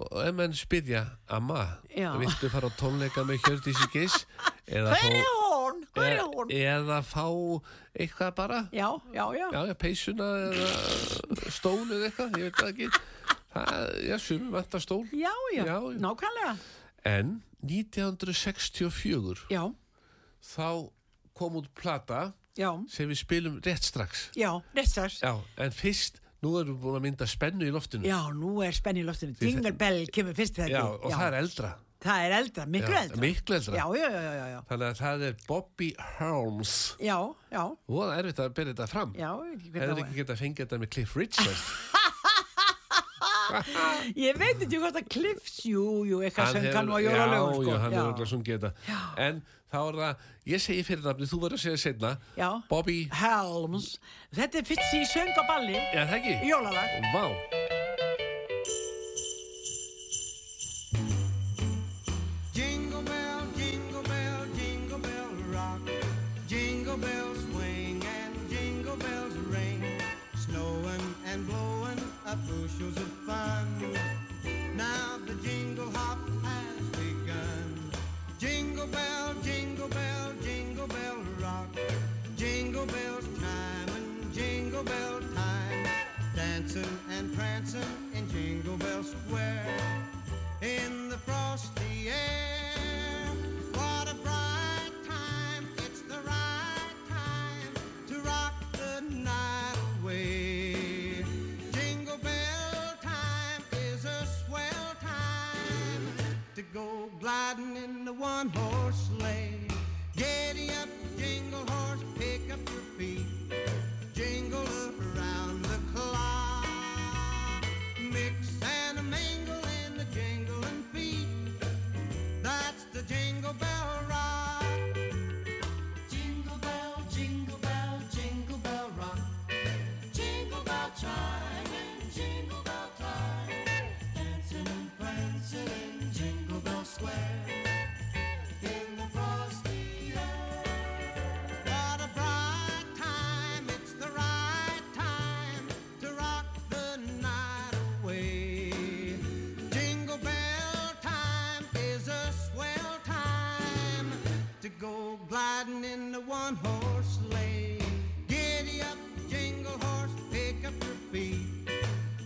S2: og ef menn spyrja Amma,
S3: Já.
S2: viltu fara á tónleika með Hjördísi Giss eða
S3: Hver er
S2: fá,
S3: hún? Hver er
S2: e-
S3: hún?
S2: eða fá eitthvað bara
S3: Já, já, já.
S2: já, já, peysuna eða stól eða eitthvað, ég veit það ekki það, já, sumi vantar stól
S3: Já,
S2: Já,
S3: já,
S2: já.
S3: nákvæmlega.
S2: en 1964
S3: Já,
S2: þá kom út plata
S3: já,
S2: sem við spilum rétt strax
S3: já, restars.
S2: já, en fyrst, nú erum við búin að mynda spennu í loftinu
S3: Já, nú er spenn í loftinu.
S2: Því
S3: Jingle
S2: þe-
S3: Bell kemur fyrst þetta.
S2: Já, og það er eldra
S3: Það er eldra,
S2: Já,
S3: miklu eldra.
S2: miklu eldra.
S3: Já, já, já, já, já.
S2: Þannig að það er Bobby Helms
S3: Já, já,
S2: og það er erfitt að byrja þetta fram
S3: já, ekki hvað
S2: hefur
S3: það
S2: ekki
S3: var.
S2: getað að fengja þetta með Cliff Richard
S3: Ég veit ekki hvað það Cliffs, jú, jú, eitthvað sem kannu á jólalögum, sko.
S2: já, hann hefur alltaf sungið þetta en þá er það, ég segi fyrir nafni þú verður að segja setna,
S3: Já.
S2: Bobby
S3: Helms. Þetta er fyrst í söngaballi,
S2: já það ekki,
S3: jólalag.
S2: vá
S8: Jingle bells swing and jingle bells ring, snowing and blowing up bushels of fun. Now the jingle hop has begun. Jingle bell, jingle bell, jingle bell rock. Jingle bell time and jingle bell time. Dancing and prancing in Jingle Bell Square. In the frosty air, what a bright time! It's the right time to rock the night away. Jingle bell time is a swell time to go gliding in the one horse sleigh. Giddy up, jingle horse, pick up your feet. Jingle around the clock. Mix and a mingle in the jingling feet. That's the jingle bell rock.
S4: Jingle bell, jingle bell, jingle bell rock. Jingle bell chime and jingle bell time. Dancing and prancing in Jingle Bell Square. In the frosty air.
S8: What a bright time, it's the right time to rock the night away. Jingle bell time is a swell time to go gliding in the one horse sleigh. Giddy up, jingle horse, pick up your feet.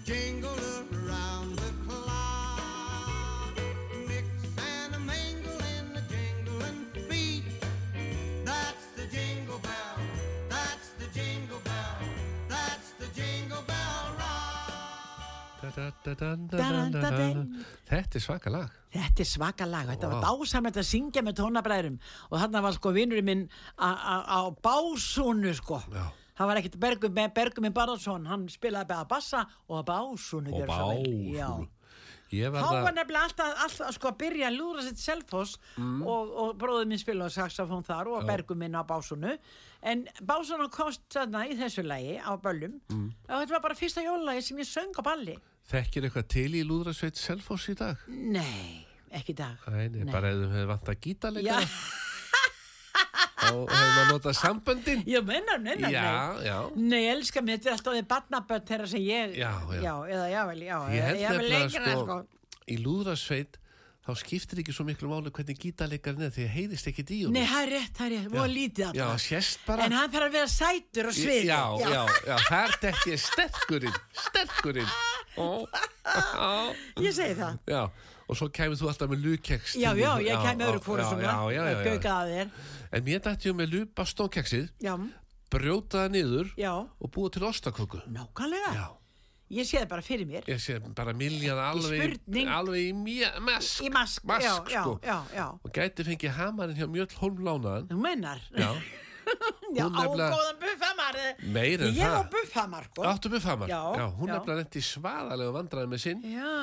S8: Jingle around the clock. Mix and a mingle in the jingling feet. That's the jingle bell. That's the jingle bell. That's the jingle bell rock.
S2: Da-da-da-da-da-da-da-da. Þetta er svaka lag
S3: Þetta er svaka lag, þetta var dásamett að syngja með tónabræðurum og þarna var sko vinnurinn minn á- á á básúnu sko.
S2: Já.
S3: Það var ekkert Bergum, Berguminn Barðarsson, hann spilaði bara bassa og á básúnu.
S2: og
S3: gjörðu svo vel. Já.
S2: bá Ég
S3: Þá var
S2: verða
S3: nefnilega alltaf, alltaf sko, að byrja að lúra sitt selfos
S2: Mm.
S3: og, og bróðið minn spilaði saxofón þar og bergum minn á básunu en básuna komst þarna í þessu lagi á böllum og þetta var bara fyrsta jólagi sem ég söng á balli
S2: Mm. Þekkir eitthvað til í Lúðrasveit Selfoss í dag?
S3: Nei, ekki í dag
S2: Nei, nei, bara ef þú hefði vant að gíta
S3: Já,
S2: leika og hefði maður notað samböndin
S3: ég mennar, mennar
S2: Já,
S3: nei.
S2: já
S3: Nei, ég elska mér, þetta er alltaf því barnabönd þeirra sem ég
S2: Já, já.
S3: eða jável, já,
S2: Ég held
S3: eða jável
S2: nefnilega
S3: lengra
S2: sko,
S3: sko.
S2: í Lúðrasveit þá skiptir ekki svo miklu máli hvernig gítarleikarinn er því að heyrist ekki díu
S3: Nei, það er rétt, það er rétt, voða lítið
S2: Já,
S3: alltaf
S2: sérst bara
S3: En hann fer að vera sætur og svið
S2: Já, já, já, þar dekki ég sterkurinn sterkurinn Ó, á,
S3: Ég segi það
S2: Já, og svo kemur þú alltaf með lúkeks
S3: Já, já, ég kæmi öðru
S2: já,
S3: hvora svona
S2: já, já, já, já.
S3: Gaukaði að þér
S2: En mér dætti ég með lúpa stónkeksið
S3: Já,
S2: brjóta það niður
S3: já,
S2: og búa til ostaköku
S3: nákvæmlega
S2: Já,
S3: Ég sé það bara fyrir mér
S2: ég sé bara miljað alveg
S3: spurning.
S2: alveg í mjö- mask
S3: Í mask, já,
S2: mask
S3: já,
S2: sko.
S3: já, já
S2: og gæti fengið hamarinn hjá Mjöll Holmlánaðan
S3: Þú mennar
S2: Já,
S3: Já,
S2: hún
S3: á
S2: nefnilega-
S3: góðan buffamar eh.
S2: meir en
S3: Ég á
S2: það
S3: buffamar, sko
S2: Áttu með famar
S3: Já,
S2: Hún
S3: já.
S2: nefnilega lendi svaðalega vandræði með sinn
S3: Já,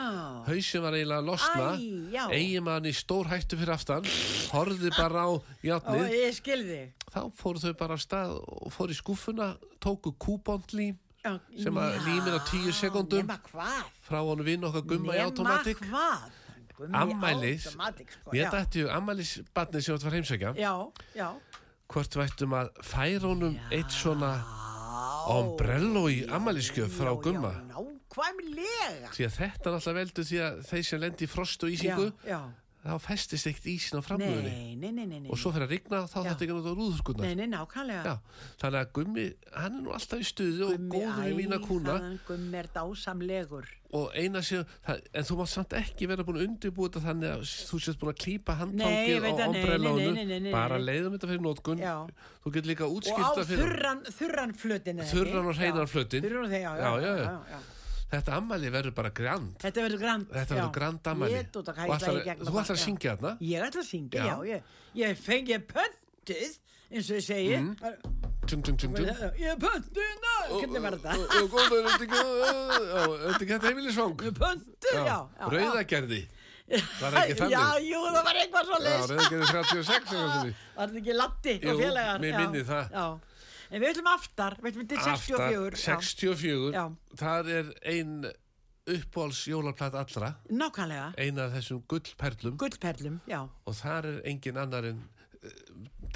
S2: Hauðsum var eiginlega að losna
S3: Æ, já.
S2: Eigimann í stór hættu fyrir aftan Horði bara á
S3: og
S2: játnið
S3: ég skil þig
S2: Þá fóru þau bara af stað og fóru í skúfuna Tóku kúbondlím
S3: Já,
S2: Sem að
S3: já,
S2: límir á tíu sekúndum.
S3: Nema hvað
S2: frá honum vinn okkar gumma í automatik
S3: Nema hvað Gummi í
S2: Ammælis
S3: automatic, sko,
S2: Mér
S3: já.
S2: dætti ju ammælis batnið sem þetta var heimsækja
S3: Já, já
S2: Hvort vættum að færa honum eitt svona ombrello í ammæliskjöf frá
S3: Já,
S2: gumma
S3: Já, nákvæmlega
S2: Því að þetta er alltaf veldur því að þeir sem lendi í frost og ísingu
S3: já
S2: þá festist eitt ísin á framlöðinni
S3: Nei, nei, nei, nei, nei
S2: og svo fyrir að rigna þá
S3: Já.
S2: þetta ekki að nota rúðurkunnar
S3: Nei, nei, nákvæmlega
S2: Já, þannig að Gummi, hann er nú alltaf í stuði og góður í mína kúna
S3: þannig Gummi er dásamlegur
S2: og eina séu, það, en þú mátt samt ekki vera búin að undirbúa þetta þannig að þú sést búin að klípa
S3: Nei,
S2: handtangið
S3: ég veit
S2: á
S3: það, nei, nei, nei, nei,
S2: ombrellónu
S3: nei, nei.
S2: bara leiðum þetta fyrir nótkun
S3: Já.
S2: þú getur líka
S3: Og á
S2: útskipta fyrir
S3: þurran, þurran flötin eða
S2: Þurran
S3: ekki?
S2: og hreinan
S3: Já,
S2: flötinn.
S3: Þurran og þeir, já,
S2: Já, já, já.
S3: já.
S2: þetta ammæli verður bara grand
S3: Þetta verður grand
S2: þetta verður grand ammæli
S3: Ég, dóta,
S2: og
S3: hvað, ég ætla
S2: ætlar,
S3: í gegnum
S2: þú
S3: það,
S2: ætlar að
S3: já.
S2: syngja þarna
S3: Ég ætla að syngja,
S2: Já.
S3: já, ég, ég fengi pöntið eins og ég segi
S2: Mm. tjung, tjung, tjung, tjung
S3: Ég er pöntið, ná, hvernig var þetta?
S2: og góður, er þetta ekki já, er þetta ekki þetta heimilisvang
S3: Pöntið, já, já
S2: rauðagerði var ekki þannig
S3: Já, jú, það var eitthvað svo
S2: Já,
S3: leys
S2: rauðagerði 36 eitthvað svoleiðis.
S3: Var þetta ekki Latti
S2: Jú,
S3: og félagar?
S2: mig
S3: Já,
S2: minnir það.
S3: Já, en við ætlum aftar, við ætlum til
S2: Aftar
S3: 64 já.
S2: 64
S3: Já.
S2: það er ein uppbóls jólaplata allra
S3: Nákvæmlega,
S2: eina af þessum gullperlum
S3: gullperlum, já
S2: og þar er engin annar en uh,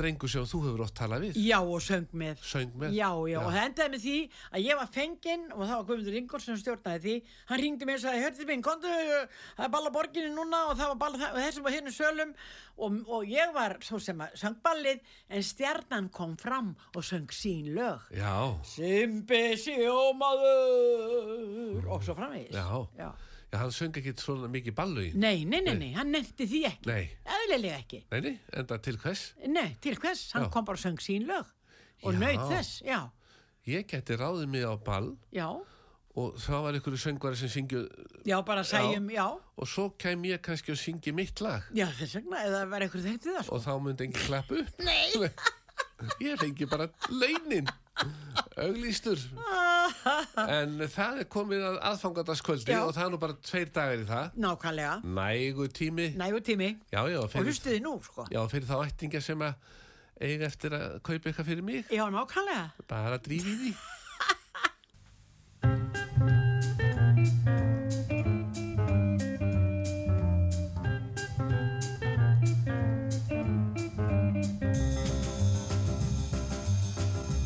S2: drengur sem þú hefur oft talað við
S3: Já, og söng með.
S2: söng með
S3: Já, já, og það endaði með því að ég var fenginn og það var Guðmundur Ingolf sem stjórnaði því hann ringdi mér og sagði, hörðu minn, komdu það er balla borginni núna og það var balla það- og þessum og hinnum sölum og, og ég var svo sem að söng ballið en stjarnan kom fram og söng sín lög
S2: já,
S3: Simbi sjómaður og svo framvegis
S2: já.
S3: Já.
S2: Já, hann söng ekki svona mikið ballugin
S3: Nei, nei, nei, nei, hann nefndi því ekki
S2: Nei.
S3: eðlilega ekki
S2: Neini, enda til hvers
S3: Nei, til hvers, hann
S2: Já.
S3: kom bara og söng sín lög og
S2: Já.
S3: naut þess, já,
S2: Ég geti ráðið mig á ball
S3: já
S2: og þá var einhverju söngvari sem syngju
S3: Já, bara segjum, já.
S2: og svo kem ég kannski og syngi mitt lag
S3: já, þess vegna, eða verið einhver þekktið það, sko.
S2: og þá myndi engin klappa upp Nei Ég fengi bara launin auglýstur En það er komin að aðfangataskvöldi
S3: Já.
S2: og það er nú bara tveir dagar í það
S3: Nákvæmlega,
S2: Nægu tími
S3: nægur tími
S2: Já, já,
S3: og
S2: fyrir,
S3: hlustuði nú, sko.
S2: já, fyrir þá ættinga sem að eiga eftir að kaupa eitthvað fyrir mig
S3: Já, nákvæmlega.
S2: bara að drífi því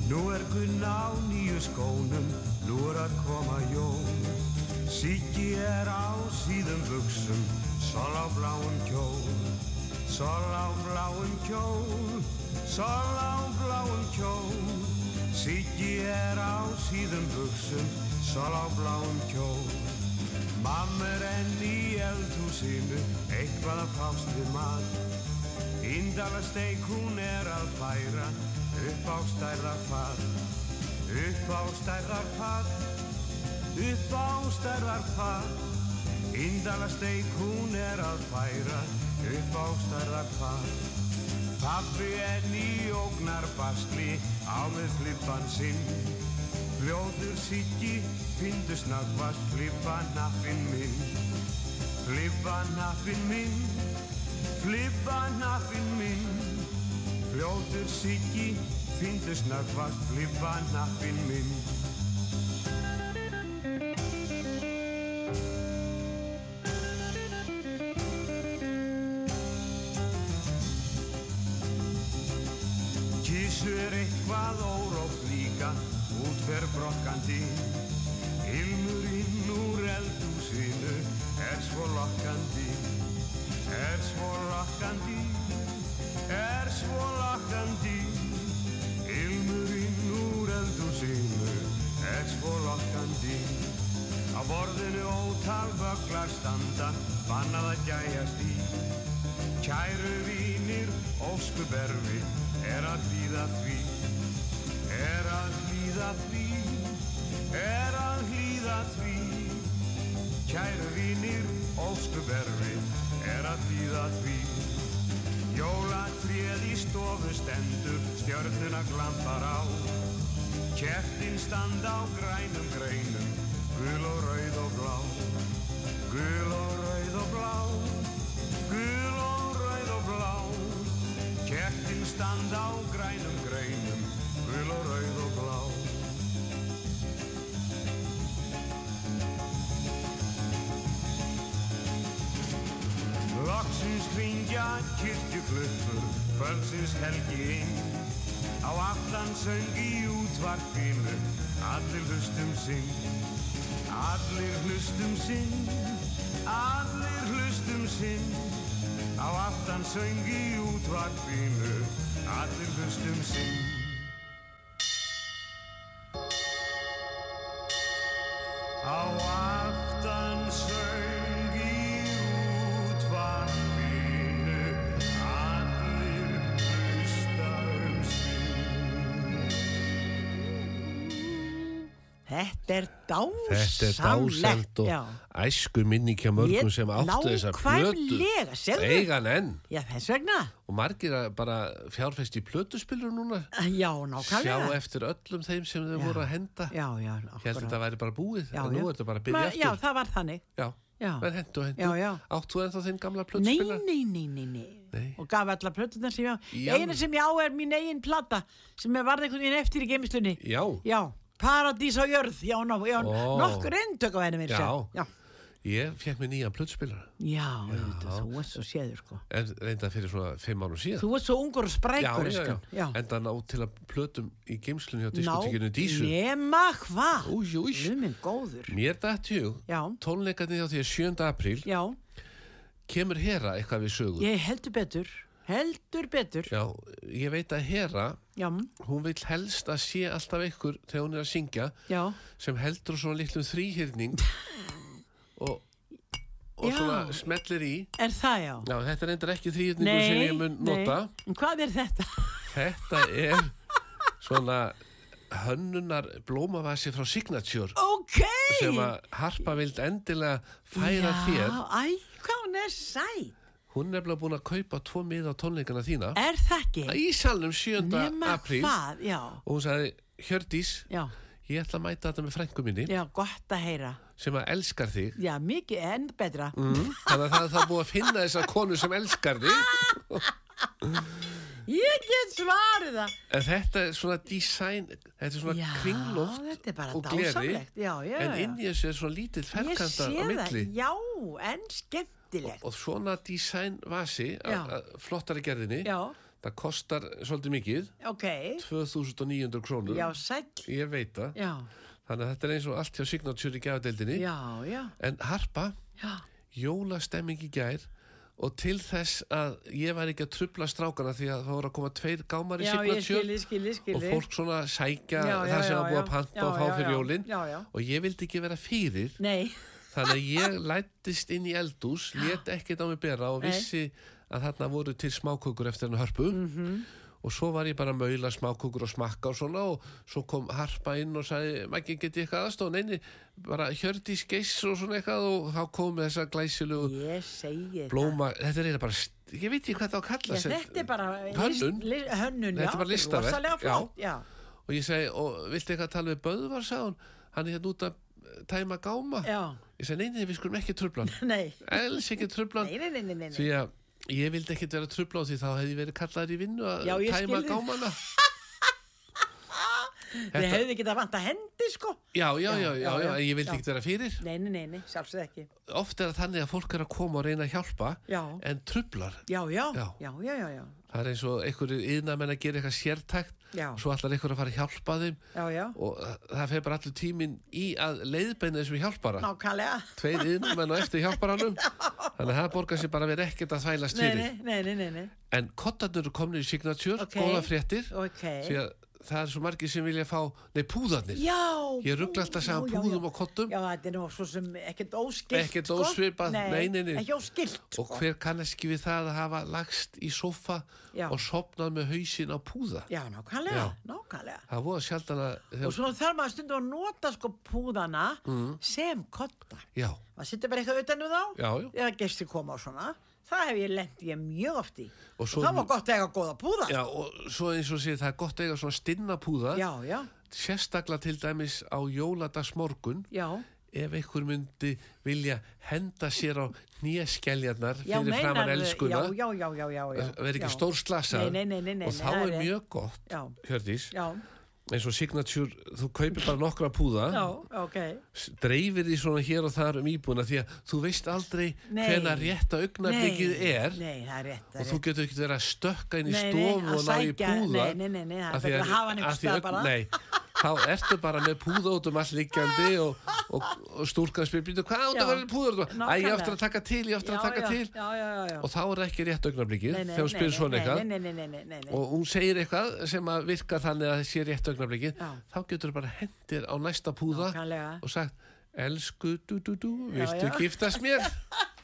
S1: Nú er Gunna á nýju skónum, nú er að koma jól. Siggi er á síðum buksum, sol á bláum kjól. Sol á bláum kjól, sol á bláum kjól. Siggi er á síðum buksum, sol á bláum kjól. Mamma er enn í eldhúsinu, eitthvað að fást við mat. Índala steik hún er að færa upp á stærðar fat upp á stærðar fat upp á stærðar fat Índala steik hún er að færa upp á stærðar fat Pappi enn í ógnar basli á með flippan sinn Fljóður siggi, fyndu snakvast flippa nappin minn flippa nappin minn Flippa hnappinn minn Fljótur siggi Fyndu snöggvast Flippa hnappinn minn Kísu er eitthvað órótt líka Útfer brokkandi Ilmur inn úr eldhúsinu Er svo lokkandi Er svo lakkandi, er svo lakkandi Ilmurinn úr eldhúsinu, er svo lakkandi Á borðinu ótal vöglar standa, bannað að gæjast í Kæru vínir, óskuberfi, er að líða því Er að líða því, er að líða því Kæru vínir, óskuberfi, er að líða því. Jólatréð í stofu stendur, stjörnuna glampar á. Kertin standa á grænum greinum, gul og rauð og blá. Gul og rauð og blá, gul og rauð og blá. Kertin standa á grænum greinum, gul og rauð og blá. Loksins hringja kirkjuklöppur, kvöldsins helgi inn. Á aftan söng í útvarpinu, allir hlustum sinn. Allir hlustum sinn, allir hlustum sinn. Á aftan söng í útvarpinu, allir hlustum sinn. Á aftan söng í útvarpinu allir hlusta um sig.
S3: Þetta er dásamlegt.
S2: Þetta er dásendt og
S3: Já,
S2: æsku minning hjá mörgum
S3: Ég-
S2: sem áttu þessa plötu
S3: nákvæmlega, segðu.
S2: eigan enn
S3: já þess vegna.
S2: og margir að bara fjárfest í plötuspilur núna
S3: Já,
S2: sjá
S3: nákvæmlega.
S2: eftir öllum þeim sem þau
S3: Já.
S2: voru að henda
S3: Já, já,
S2: held þetta væri bara búið
S3: Já,
S2: en nú
S3: já.
S2: er þetta bara að byrja
S3: Ma-
S2: aftur
S3: Já, það var þannig.
S2: já,
S3: Já.
S2: það er hendu og hendu
S3: Já, já.
S2: áttu ennþá þeim gamla
S3: Nei,
S2: plötuspilur
S3: nei, nei, nei, nei.
S2: Nei.
S3: Og gaf alla plötunar sem ég á.
S2: Já.
S3: Einu sem ég á er mín eigin plata sem er varð einhvern veginn eftir í gemislunni.
S2: já,
S3: Já, Paradís á jörð, já, ná, já,
S2: Ó.
S3: nokkur endök á henni mér
S2: Já.
S3: sér. Já,
S2: Ég fekk mér nýjan plötspilara
S3: Já, auðvitað, þú ert svo séður sko
S2: en reynda fyrir svona fimm árum síðan
S3: Þú ert svo ungur og sprækur elskan.
S2: já. En það ná til að plötum í geimslunni á diskotekinu Dísu
S3: nema hvað
S2: Új, új.
S3: Lumin góður
S2: Mér dætt hug,
S3: Já.
S2: tónleikarnir hjá því að 7. apríl
S3: Já,
S2: kemur Hera eitthvað við sögur
S3: ég heldur betur Heldur betur
S2: Já, ég veit að Hera
S3: Já,
S2: hún vil helst að sé alltaf ykkur þegar hún er að syngja
S3: já,
S2: sem heldur á svona litlum þrýhyrning og, og
S3: Já.
S2: svona smellir í
S3: er það já
S2: Já, þetta er endur ekki þrýhyrningur sem ég mun nota
S3: nei En Hvað er þetta?
S2: Þetta er svona hönnunar blómavasi frá Signature
S3: Ok
S2: sem að Harpa vild endilega færa þér.
S3: Já, æ, hvað hún er sæt
S2: Hún er nefnilega búin að kaupa tvo miða á tónleikana þína
S3: Er það ekki?
S2: í salnum 7.
S3: Nema
S2: apríl
S3: hvað, já
S2: og hún sagði, Hjördís,
S3: Já,
S2: ég ætla að mæta þetta með frængu minni
S3: já, gott að heyra
S2: sem að elskar þig.
S3: Já, mikið enn betra
S2: Mm. Þannig að það er það búið að finna þessa konu sem elskar þig.
S3: Ég get svarið það
S2: En þetta er svona design, þetta er svona
S3: Já,
S2: kringloft
S3: þetta er bara
S2: og gleði.
S3: dásamlegt. Já, já,
S2: en
S3: já.
S2: inn í þessu er svona lítill
S3: Ég
S2: ferkanta á
S3: sé það,
S2: milli.
S3: já, en skemmtilegt
S2: og svona design vasi
S3: Já.
S2: a- a- flottari gerðinni
S3: Já.
S2: það kostar svolítið mikið
S3: Ok,
S2: 2900 krónur
S3: já, sæll
S2: ég veit það
S3: Já,
S2: þannig að þetta er eins og allt hjá Signature í gæðadeildinni
S3: já, já,
S2: en harpa,
S3: já
S2: jólastemming í gær og til þess að ég var ekki að trubla strákana því að það voru að koma tveir gámar í
S3: Já, ég skil,
S2: Signature
S3: ég skil, ég skil
S2: og fólk svona sækja
S3: Já, já,
S2: það sem
S3: já,
S2: að búa að
S3: já.
S2: panta
S3: Já,
S2: og fá
S3: já,
S2: fyrir
S3: já.
S2: jólin
S3: Já, já.
S2: og ég vildi ekki vera fyrir
S3: Nei,
S2: Þannig að ég lættist inn í eldús, let ekkert á mig bera og
S3: Nei.
S2: vissi að þarna voru til smákökur eftir hennu hörpu
S3: Mhm.
S2: og svo var ég bara að maula smákökur og smakka og svona og svo kom harpa inn og sagði, maður geti eitthvað aðstof, neini, bara hjördís geiss og svona eitthvað og þá kom með þessa glæsilegu
S3: ég segi
S2: blóma, þetta er eiginlega bara, st- ég veit ekki hvað það á að
S3: það
S2: kalla
S3: Já, Þetta er bara
S2: Hönnun.
S3: list, list, Hönnun,
S2: Þetta
S3: já
S2: er bara listaverk,
S3: Rosalega
S2: já.
S3: flott, já,
S2: og ég segi, og viltu eitthvað tala við Böðvar, sagði hún, hann er hérna út að eh, tæma gáma,
S3: já,
S2: ég segi, neini, við skulum ekki trublan,
S3: Nei,
S2: els ekki trublan
S3: nei, nei, nei, nei, nei, nei.
S2: því að ég vildi ekkert vera trubla á því þá hefði ég verið kallaður í vinnu að
S3: Já, ég
S2: tæma
S3: skil þig.
S2: gámana
S3: Við
S2: þetta-
S3: hefðum ekki það vant að hendi, sko
S2: já, já, já, já,
S3: já,
S2: já,
S3: já.
S2: ég vildi
S3: Já.
S2: ekkert vera fyrir
S3: Nei, nei, nei, nei, sjálfsögð ekki
S2: oft er það þannig að fólk er að koma og reyna að hjálpa
S3: Já.
S2: en trublar,
S3: Já, já, já,
S2: Já.
S3: já, já, já,
S2: það er eins og einhverju yðnamenn að gera eitthvað sértækt
S3: Já.
S2: svo allar einhverju að fara að hjálpa þeim
S3: já, já.
S2: og það- það fer bara allur tíminn í að leiðbeina þessum hjálpara
S3: Nákvæmlega
S2: tveir yðnamenn og eftir hjálparanum þannig að það borgar sér bara að vera ekkert að þvælast
S3: Nei,
S2: fyrir
S3: nei, nei, nei, nei, nei.
S2: en kottarnir eru komnir í signature,
S3: Ok.
S2: góða fréttir
S3: Ok
S2: því að það er svo margir sem vilja fá nei, púðarnir
S3: Já
S2: Ég rugla alltaf
S3: já,
S2: saman
S3: já,
S2: púðum
S3: já.
S2: og kottum.
S3: Já, þetta er nú svo sem ekkert óskilt
S2: Ekkert
S3: sko.
S2: ósvipað, nei, nei, nei.
S3: Ekki óskilt
S2: og hver kannast ekki við það að hafa lagst í sofa
S3: Já.
S2: og sopnað með hausin á púða
S3: Já, nákvæmlega,
S2: Já.
S3: nákvæmlega
S2: það voru sjaldan að
S3: Og
S2: þegar, Mm.
S3: svo þarf maður stundum að nota sko púðana sem kotta
S2: já,
S3: Maður sittir bara eitthvað utan um þá
S2: já, já,
S3: Eða gestir koma og svona Það hef ég lent ég mjög oft í
S2: Og
S3: Og,
S2: svo-
S3: það var gott að eiga góða púða
S2: já og svo eins og sé það er gott að eiga svona stinna púða
S3: já, já,
S2: sérstaklega til dæmis á jóladagsmorgun
S3: já.
S2: ef einhver myndi vilja henda sér á nýjaskæljarnar
S3: Já,
S2: fyrir framann
S3: meinarðu-
S2: elskuna
S3: Já, já, já, já, já, já.
S2: að vera ekki
S3: Já.
S2: stór slasa
S3: Nei, nei, nei, nei, nei,
S2: og
S3: nei,
S2: þá
S3: það
S2: er
S3: rétt.
S2: mjög gott
S3: Já,
S2: Hjördís,
S3: já,
S2: eins og Signature þú kaupir bara nokkra púða
S3: já, ok
S2: s- dreifir því svona hér og þar um íbúna því að þú veist aldrei
S3: Nei.
S2: hvena rétta augnablikið
S3: Nei,
S2: er
S3: Nei, það er rétt það er
S2: og þú
S3: rétt.
S2: getur ekkert verið að stökka inn í
S3: Nei, nei,
S2: stofu
S3: að
S2: og ná í
S3: sækja,
S2: púða
S3: nei, nei, nei, nei, það er
S2: af því
S3: betra
S2: að-
S3: að hafa hann einhvers
S2: af því
S3: staðar
S2: að-
S3: bara.
S2: nei, þá ertu bara með púða út um all liggjandi og, og, og stúlkan spyr býtu hvað átt
S3: Já,
S2: að vera með púða út um að ég
S3: nákvæmlega.
S2: aftur að taka til, ég aftur
S3: Já,
S2: að taka
S3: já,
S2: til
S3: Já, já, já, já
S2: og þá er ekki rétt augnablikið
S3: Nei, nei,
S2: þegar hún spyr
S3: nei,
S2: svona
S3: nei,
S2: eitthvað
S3: Nei, nei, nei, nei, nei, nei
S2: og hún segir eitthvað sem að virka þannig að það sé rétt augnablikið
S3: Já.
S2: þá getur þú bara hendir á næsta púða
S3: Nákvæmlega.
S2: og sagt elsku du du du, viltu
S3: já.
S2: giftast mér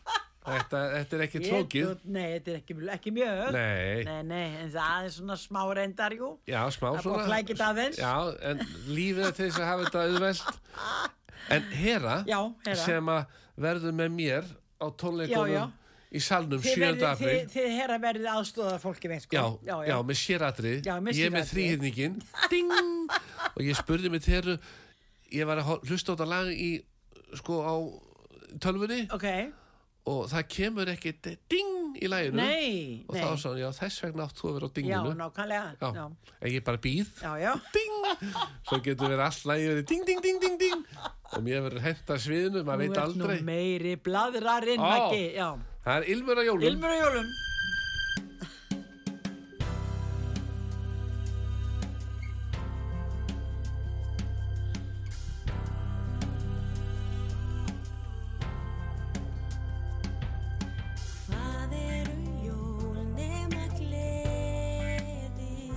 S2: þetta, þetta er ekki
S3: Ég-
S2: trókið
S3: þú- Nei, þetta er ekki, ekki mjög
S2: nei,
S3: Nei, nei, en það er svona smá reyndar, jú
S2: já smá
S3: Það er búið
S2: svona
S3: að flækja þetta aðeins.
S2: já, en lífið er til þess að hafa þetta auðvelt en Hera
S3: Já, Hera.
S2: sem að verður með mér á tónleikunum
S3: Já, já.
S2: í salnum
S3: Þið
S2: 7.
S3: verðið-
S2: apríl
S3: Þið, þið herra verðið aðstóða fólki með, sko
S2: Já,
S3: já,
S2: já, með sératri
S3: Já, með
S2: Ég er með
S3: sératriði.
S2: þrýhyrningin Ding Og ég spurði mig þeirru Ég var að hol- hlusta á þetta lag í Sko á tölvunni
S3: Ok,
S2: Og það kemur ekki Ding ding í læginu
S3: Nei,
S2: og
S3: nei.
S2: þá var svona, já þess vegna átt þú að vera á
S3: Já,
S2: dinginu
S3: nákvæmlega. Já,
S2: en ég bara býð
S3: já, já.
S2: ding, svo getur verið all lægi verið ding, ding, ding, ding, ding og mér verður henda sviðinu, maður
S3: Þú
S2: veit
S3: ert
S2: aldrei
S3: nú meiri bladrarinn,
S2: Ó.
S3: Maggi. Já,
S2: það er ilmur á jólum
S3: ilmur og jólum.
S4: Hvað eru jól nema gleði?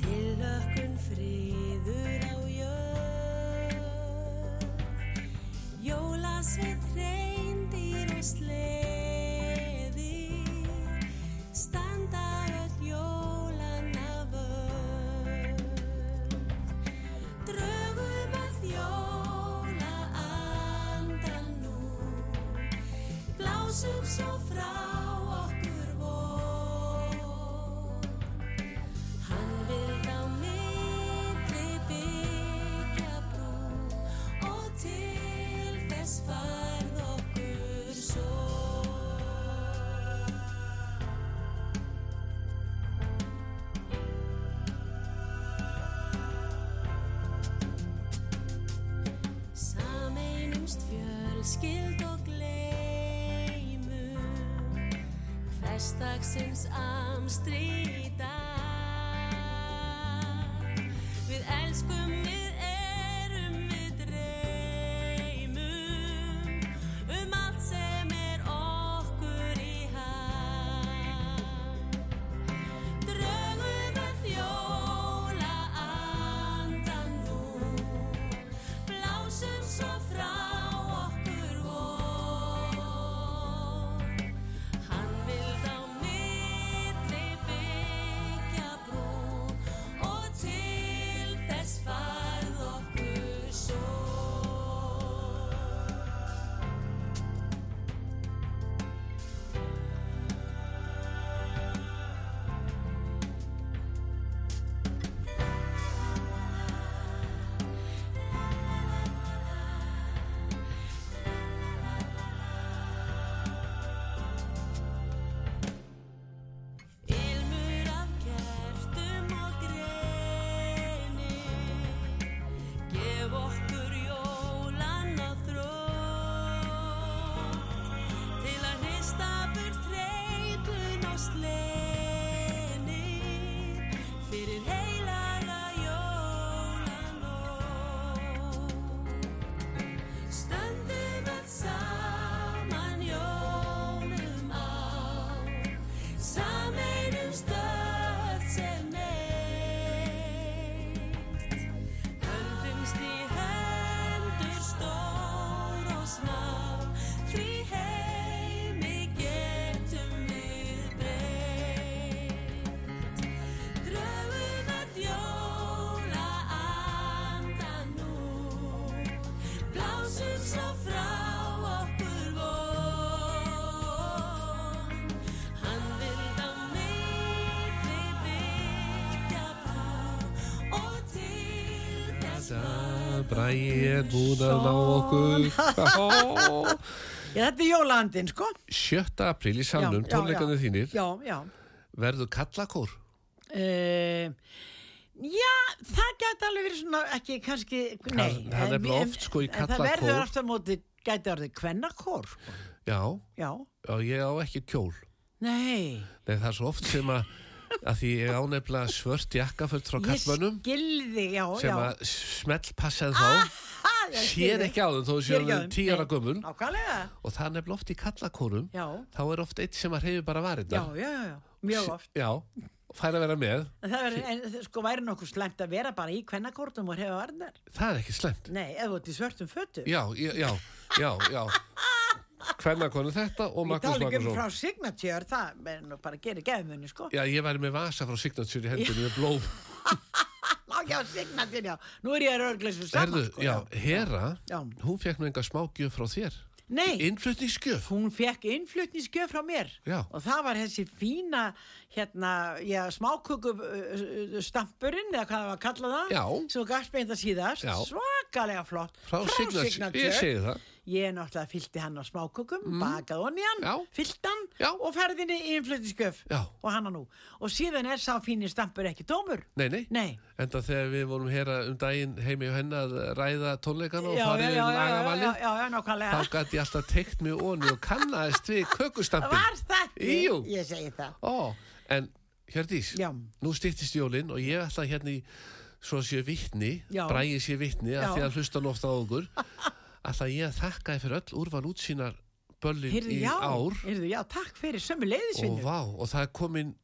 S4: Tilökkun friður á jörð. Jólasveinn reyndir og sleði. Standa öll jólanna vörð. Draugum að jóla andan nú. Blásum svo frá okkur vor Hann vil á milli byggja brú Og til þess færð okkur svo Sameinumst fjölskyld og gleymum Hverstagsins amstri í dag Við elskum, við erum, við dreymum Um allt sem er okkur í hag Draugum að jóla andan nú Blásum svo frá okkur vor Hann vild á milli byggja brú Og til þess farð okkur svo Ilmur af kertum og greni Gef okkur jólanna þrótt Til að hrista burt þreytun og sleni Fyrir heilaga jólanótt Stöndum að saman jónum á Sameinum stöð sem eitt Höldumst í hendur stór og smá Því heimi getum við breytt Draugum að jóla anda nú Blásum svo frá okkur von Hann vild á milli byggja brú Og til þess
S2: Bræðið búin að ná okkur Ó,
S3: Já, þetta er jólaandinn, sko.
S2: 7. apríl í salnum,
S3: Já, já,
S2: tónleikarnir
S3: já.
S2: þínir
S3: Já, já.
S2: verður kallakór
S3: Uh, já, það gæti alveg verið svona, ekki kannski,
S2: Það- það
S3: nei.
S2: er
S3: en-
S2: nefnilega
S3: en-
S2: oft, sko, í
S3: en Það verður
S2: kallakór.
S3: aftur á móti, gæti orðið kvennakór, sko.
S2: já,
S3: Já,
S2: já, ég á ekki kjól
S3: nei.
S2: Nei, það er svo oft sem að að því ég ánefla svört jakkaföld frá
S3: Ég
S2: kallmönnum
S3: skilði, já,
S2: sem
S3: já.
S2: að smelt passaði þá
S3: Ha, já, ég skil
S2: sér
S3: þig.
S2: ekki á þeim þó
S3: Sér
S2: séu
S3: ekki á
S2: þeim
S3: þeim,
S2: tíara
S3: nei.
S2: gömul
S3: Nákvæmlega,
S2: og það er nefnilega oft í kallakórum
S3: já,
S2: þá er oft eitt sem að reyfi bara
S3: já,
S2: varirnar
S3: já, já, já, mjög oft.
S2: já, fær að vera með
S3: En Það er, en þ- sko væri nokkuð slæmt að vera bara í kvennakórnum og hefa varnar.
S2: það er ekki slemt
S3: Nei, eða þú ert í svörtum fötum.
S2: já, já, já, já, já. hvernakonu þetta og
S3: Ég
S2: Magnús
S3: tala ekki um
S2: Magnússon
S3: frá Signature, það er nú bara að gera gefumunni, sko.
S2: Já, ég væri með vasa frá Signature í hendunni með blóm.
S3: Má já, Signature, já. Nú er ég að örglesu saman,
S2: Herðu,
S3: sko.
S2: já, Hera,
S3: Já.
S2: hún fekk nú enga smágjöf frá þér.
S3: Nei,
S2: Innflutningsgjöf.
S3: hún fekk innflutningsgjöf frá mér.
S2: Já.
S3: Og það var þessi fína, hérna, já, smákukustampurinn, eða hvað það var að kalla það.
S2: Já.
S3: Svo gafst mér þetta hérna síðast.
S2: Já.
S3: Svakalega flott.
S2: Frá, Signature. Ég segi það.
S3: Ég náttúrulega fylgti hann á smákökum, mm. bakað honni hann,
S2: Já.
S3: fyllt hann
S2: Já.
S3: og ferðinni í innflutningsköf
S2: Já.
S3: og hann nú. Og síðan er sá fínir stampur ekki tómur.
S2: Nei, nei.
S3: Nei.
S2: Enda þegar við vorum hér að- um daginn heimi og henni að ræða tónleikana og
S3: já, já,
S2: farið
S3: já,
S2: um
S3: já, já, já,
S2: lagavalið,
S3: já, já, nákvæmlega.
S2: þá gæti ég alltaf teikt mig onni og kannaðist við kökustampin.
S3: Var það?
S2: Jú.
S3: Ég segi það.
S2: Ó, en Hjördís,
S3: Já.
S2: nú stýttist jólinn og ég ætla hérna í svo sé vittni,
S3: Já.
S2: bræði sé vittni
S3: Já.
S2: að því að hlusta hann ofta á okkur ætla ég að þakka þér fyrir öll úrval útsýnar böllin
S3: Heyrðu,
S2: í
S3: já,
S2: ár
S3: heyrðu, já, takk fyrir sömu
S2: og
S3: leiðisvinnu.
S2: vá, og það er komin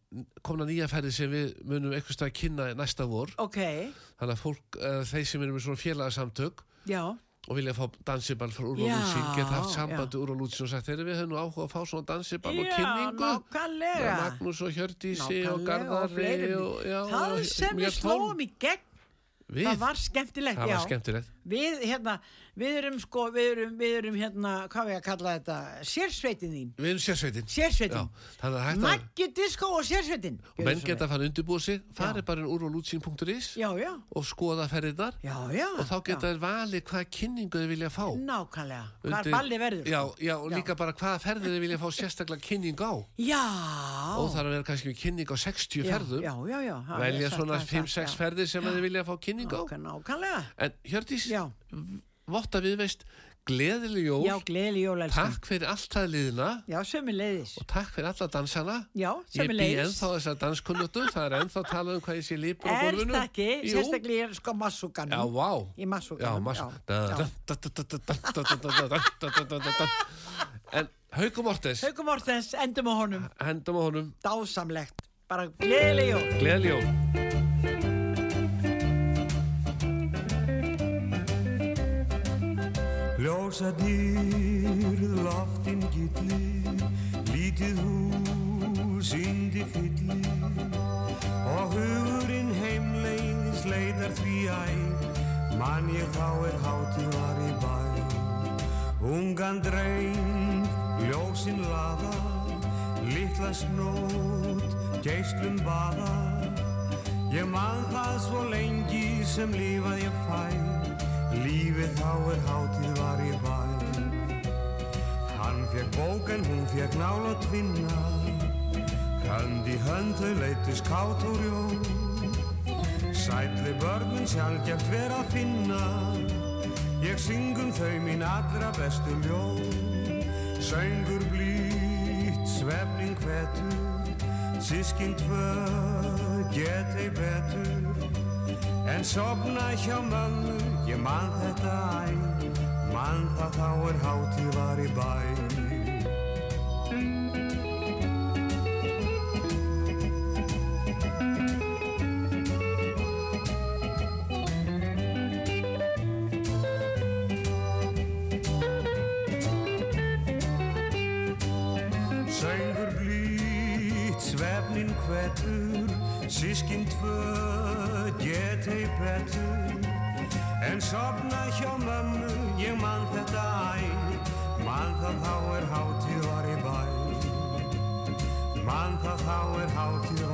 S2: komna nýja ferði sem við munum eitthvað stað að kynna næsta vor,
S3: Ok,
S2: þannig að fólk uh, þeir sem eru með svona félagasamtök
S3: já,
S2: og vilja fá dansiball frá Úrval
S3: Já,
S2: útsýn geta haft
S3: já.
S2: sambandi Úrval útsýn og sagt þeir við höfum nú áhuga að fá svona dansiball og
S3: Já,
S2: kynningu
S3: nákvæmlega.
S2: með Magnús og Hjördísi
S3: nákvæmlega
S2: og Garðari
S3: fleirum.
S2: og, já,
S3: það
S2: og
S3: sem við
S2: mér tólf.
S3: slóum í gegn,
S2: Við?
S3: það var skemmtilegt,
S2: það
S3: já.
S2: var skemmtilegt.
S3: Við, hérna, við erum sko, við erum, við erum hérna, hvað við að kalla þetta, sérsveitin þín,
S2: Við erum sérsveitin.
S3: sérsveitin,
S2: Já, þannig að hægt að...
S3: Maggi Disko og sérsveitin.
S2: Og menn
S3: Gjörðu svo
S2: geta að fara að undirbúa sig, farið
S3: Já.
S2: bara inn úrvalútsýn.is
S3: vel. Já, já,
S2: og skoða ferðirnar
S3: já, já.
S2: og þá geta þeir valið hvaða kynningu þeir vilja fá.
S3: Já. Nákvæmlega, hvað
S2: Undir-
S3: balli verður.
S2: Já,
S3: sko.
S2: já, og líka bara hvaða ferðir þeir vilja fá sérstaklega kynning á.
S3: Já.
S2: Og það er að vera kannski með kynning á 60
S3: Já,
S2: ferðum.
S3: Já, já, já. það er
S2: Velja
S3: satt,
S2: svona
S3: það er satt,
S2: 5-6
S3: já.
S2: ferðir sem þeir vilja fá kynning á.
S3: Nákvæm- Nákvæmlega,
S2: En Hjördís,
S3: já,
S2: votta við veist, gleðileg jól.
S3: já, gleðileg jól, elskan.
S2: Takk fyrir allt það liðina
S3: Já, sömu leiðis.
S2: og takk fyrir alla dansana.
S3: Já,
S2: Ég
S3: sömu
S2: bý
S3: leiðis.
S2: ennþá þessar danskunnötu, það er ennþá talað um hvað ég sé lípur á
S3: Er
S2: gólfinu.
S3: það ekki,
S2: Jú.
S3: sérstaklega ég er sko
S2: Já,
S3: massúkanum.
S2: vá.
S3: Í massúkanum,
S2: Já, massu.
S3: já,
S2: Da-
S3: já.
S2: da- da- da- da- da- da- da- da- da- da- da- da- da- da. En Hauku Mortens,
S3: Haukum Mortens, endum á honum,
S2: hendum á honum,
S3: dásamlegt. Bara gleðileg jól.
S2: gleðileg jól.
S1: Ljósadýr, loftin gillir, lítið hús, yndi fyllir og hugurinn heimleiðis leiðar því æð, mann ég þá er hátíð var í bæ. Ungan dreyn, ljósin laða, litla snót, geislum baða, Ég man það svo lengi sem lífað ég fæ Lífið þá er hátíð var ég bæ Hann fekk bók en hún fekk nála tvinna Hönd í hönd þau leittust kátt og rjó Sætli börnin sjálfgeft vera að finna Ég syngum þau mín allra bestu ljó Söngur blýtt, svefning hvetur Sískin tvö, geti betur En sopna hjá mömmu, ég man þetta æ Man það þá er hátíð var í bæ Söngur blýtt, svefnin hvetur, sískin tvö, geti betur. En sopna hjá mömmu, ég man þetta æ, man það þá er hátíð var í bæ. Man það þá er hátíð